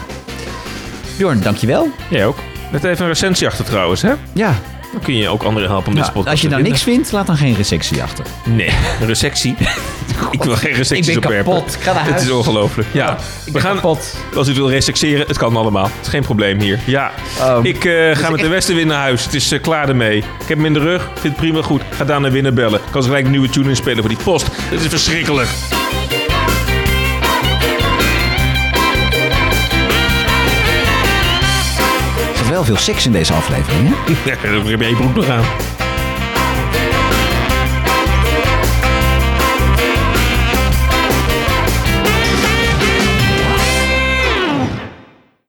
Bjorn, dankjewel.
Jij ook. Met even een recensie achter trouwens, hè?
Ja.
Dan kun je ook anderen helpen om
Nou,
deze podcast
als je
te
nou niks
vinden.
vindt, laat dan geen recensie achter.
Nee, *laughs* een
*laughs*
resectie. ik wil geen resecties
Ik ben
opwerpen.
kapot. Ik ga naar
*laughs* Het
huis.
is ongelooflijk. Ja. We gaan, Als u het wil resexeren, het kan allemaal. Het is geen probleem hier. Ja.
ehm,
ik eh, ga met de Westenwind naar huis. Het is eh, klaar ermee. Ik heb hem in de rug. Vind het prima goed. Ga daar naar winnen bellen. Kan ze gelijk een nieuwe tune inspelen voor die post. Het is verschrikkelijk. *laughs*
Er zat wel veel seks in deze aflevering, hè?
Ja, Dan heb je broek nog aan.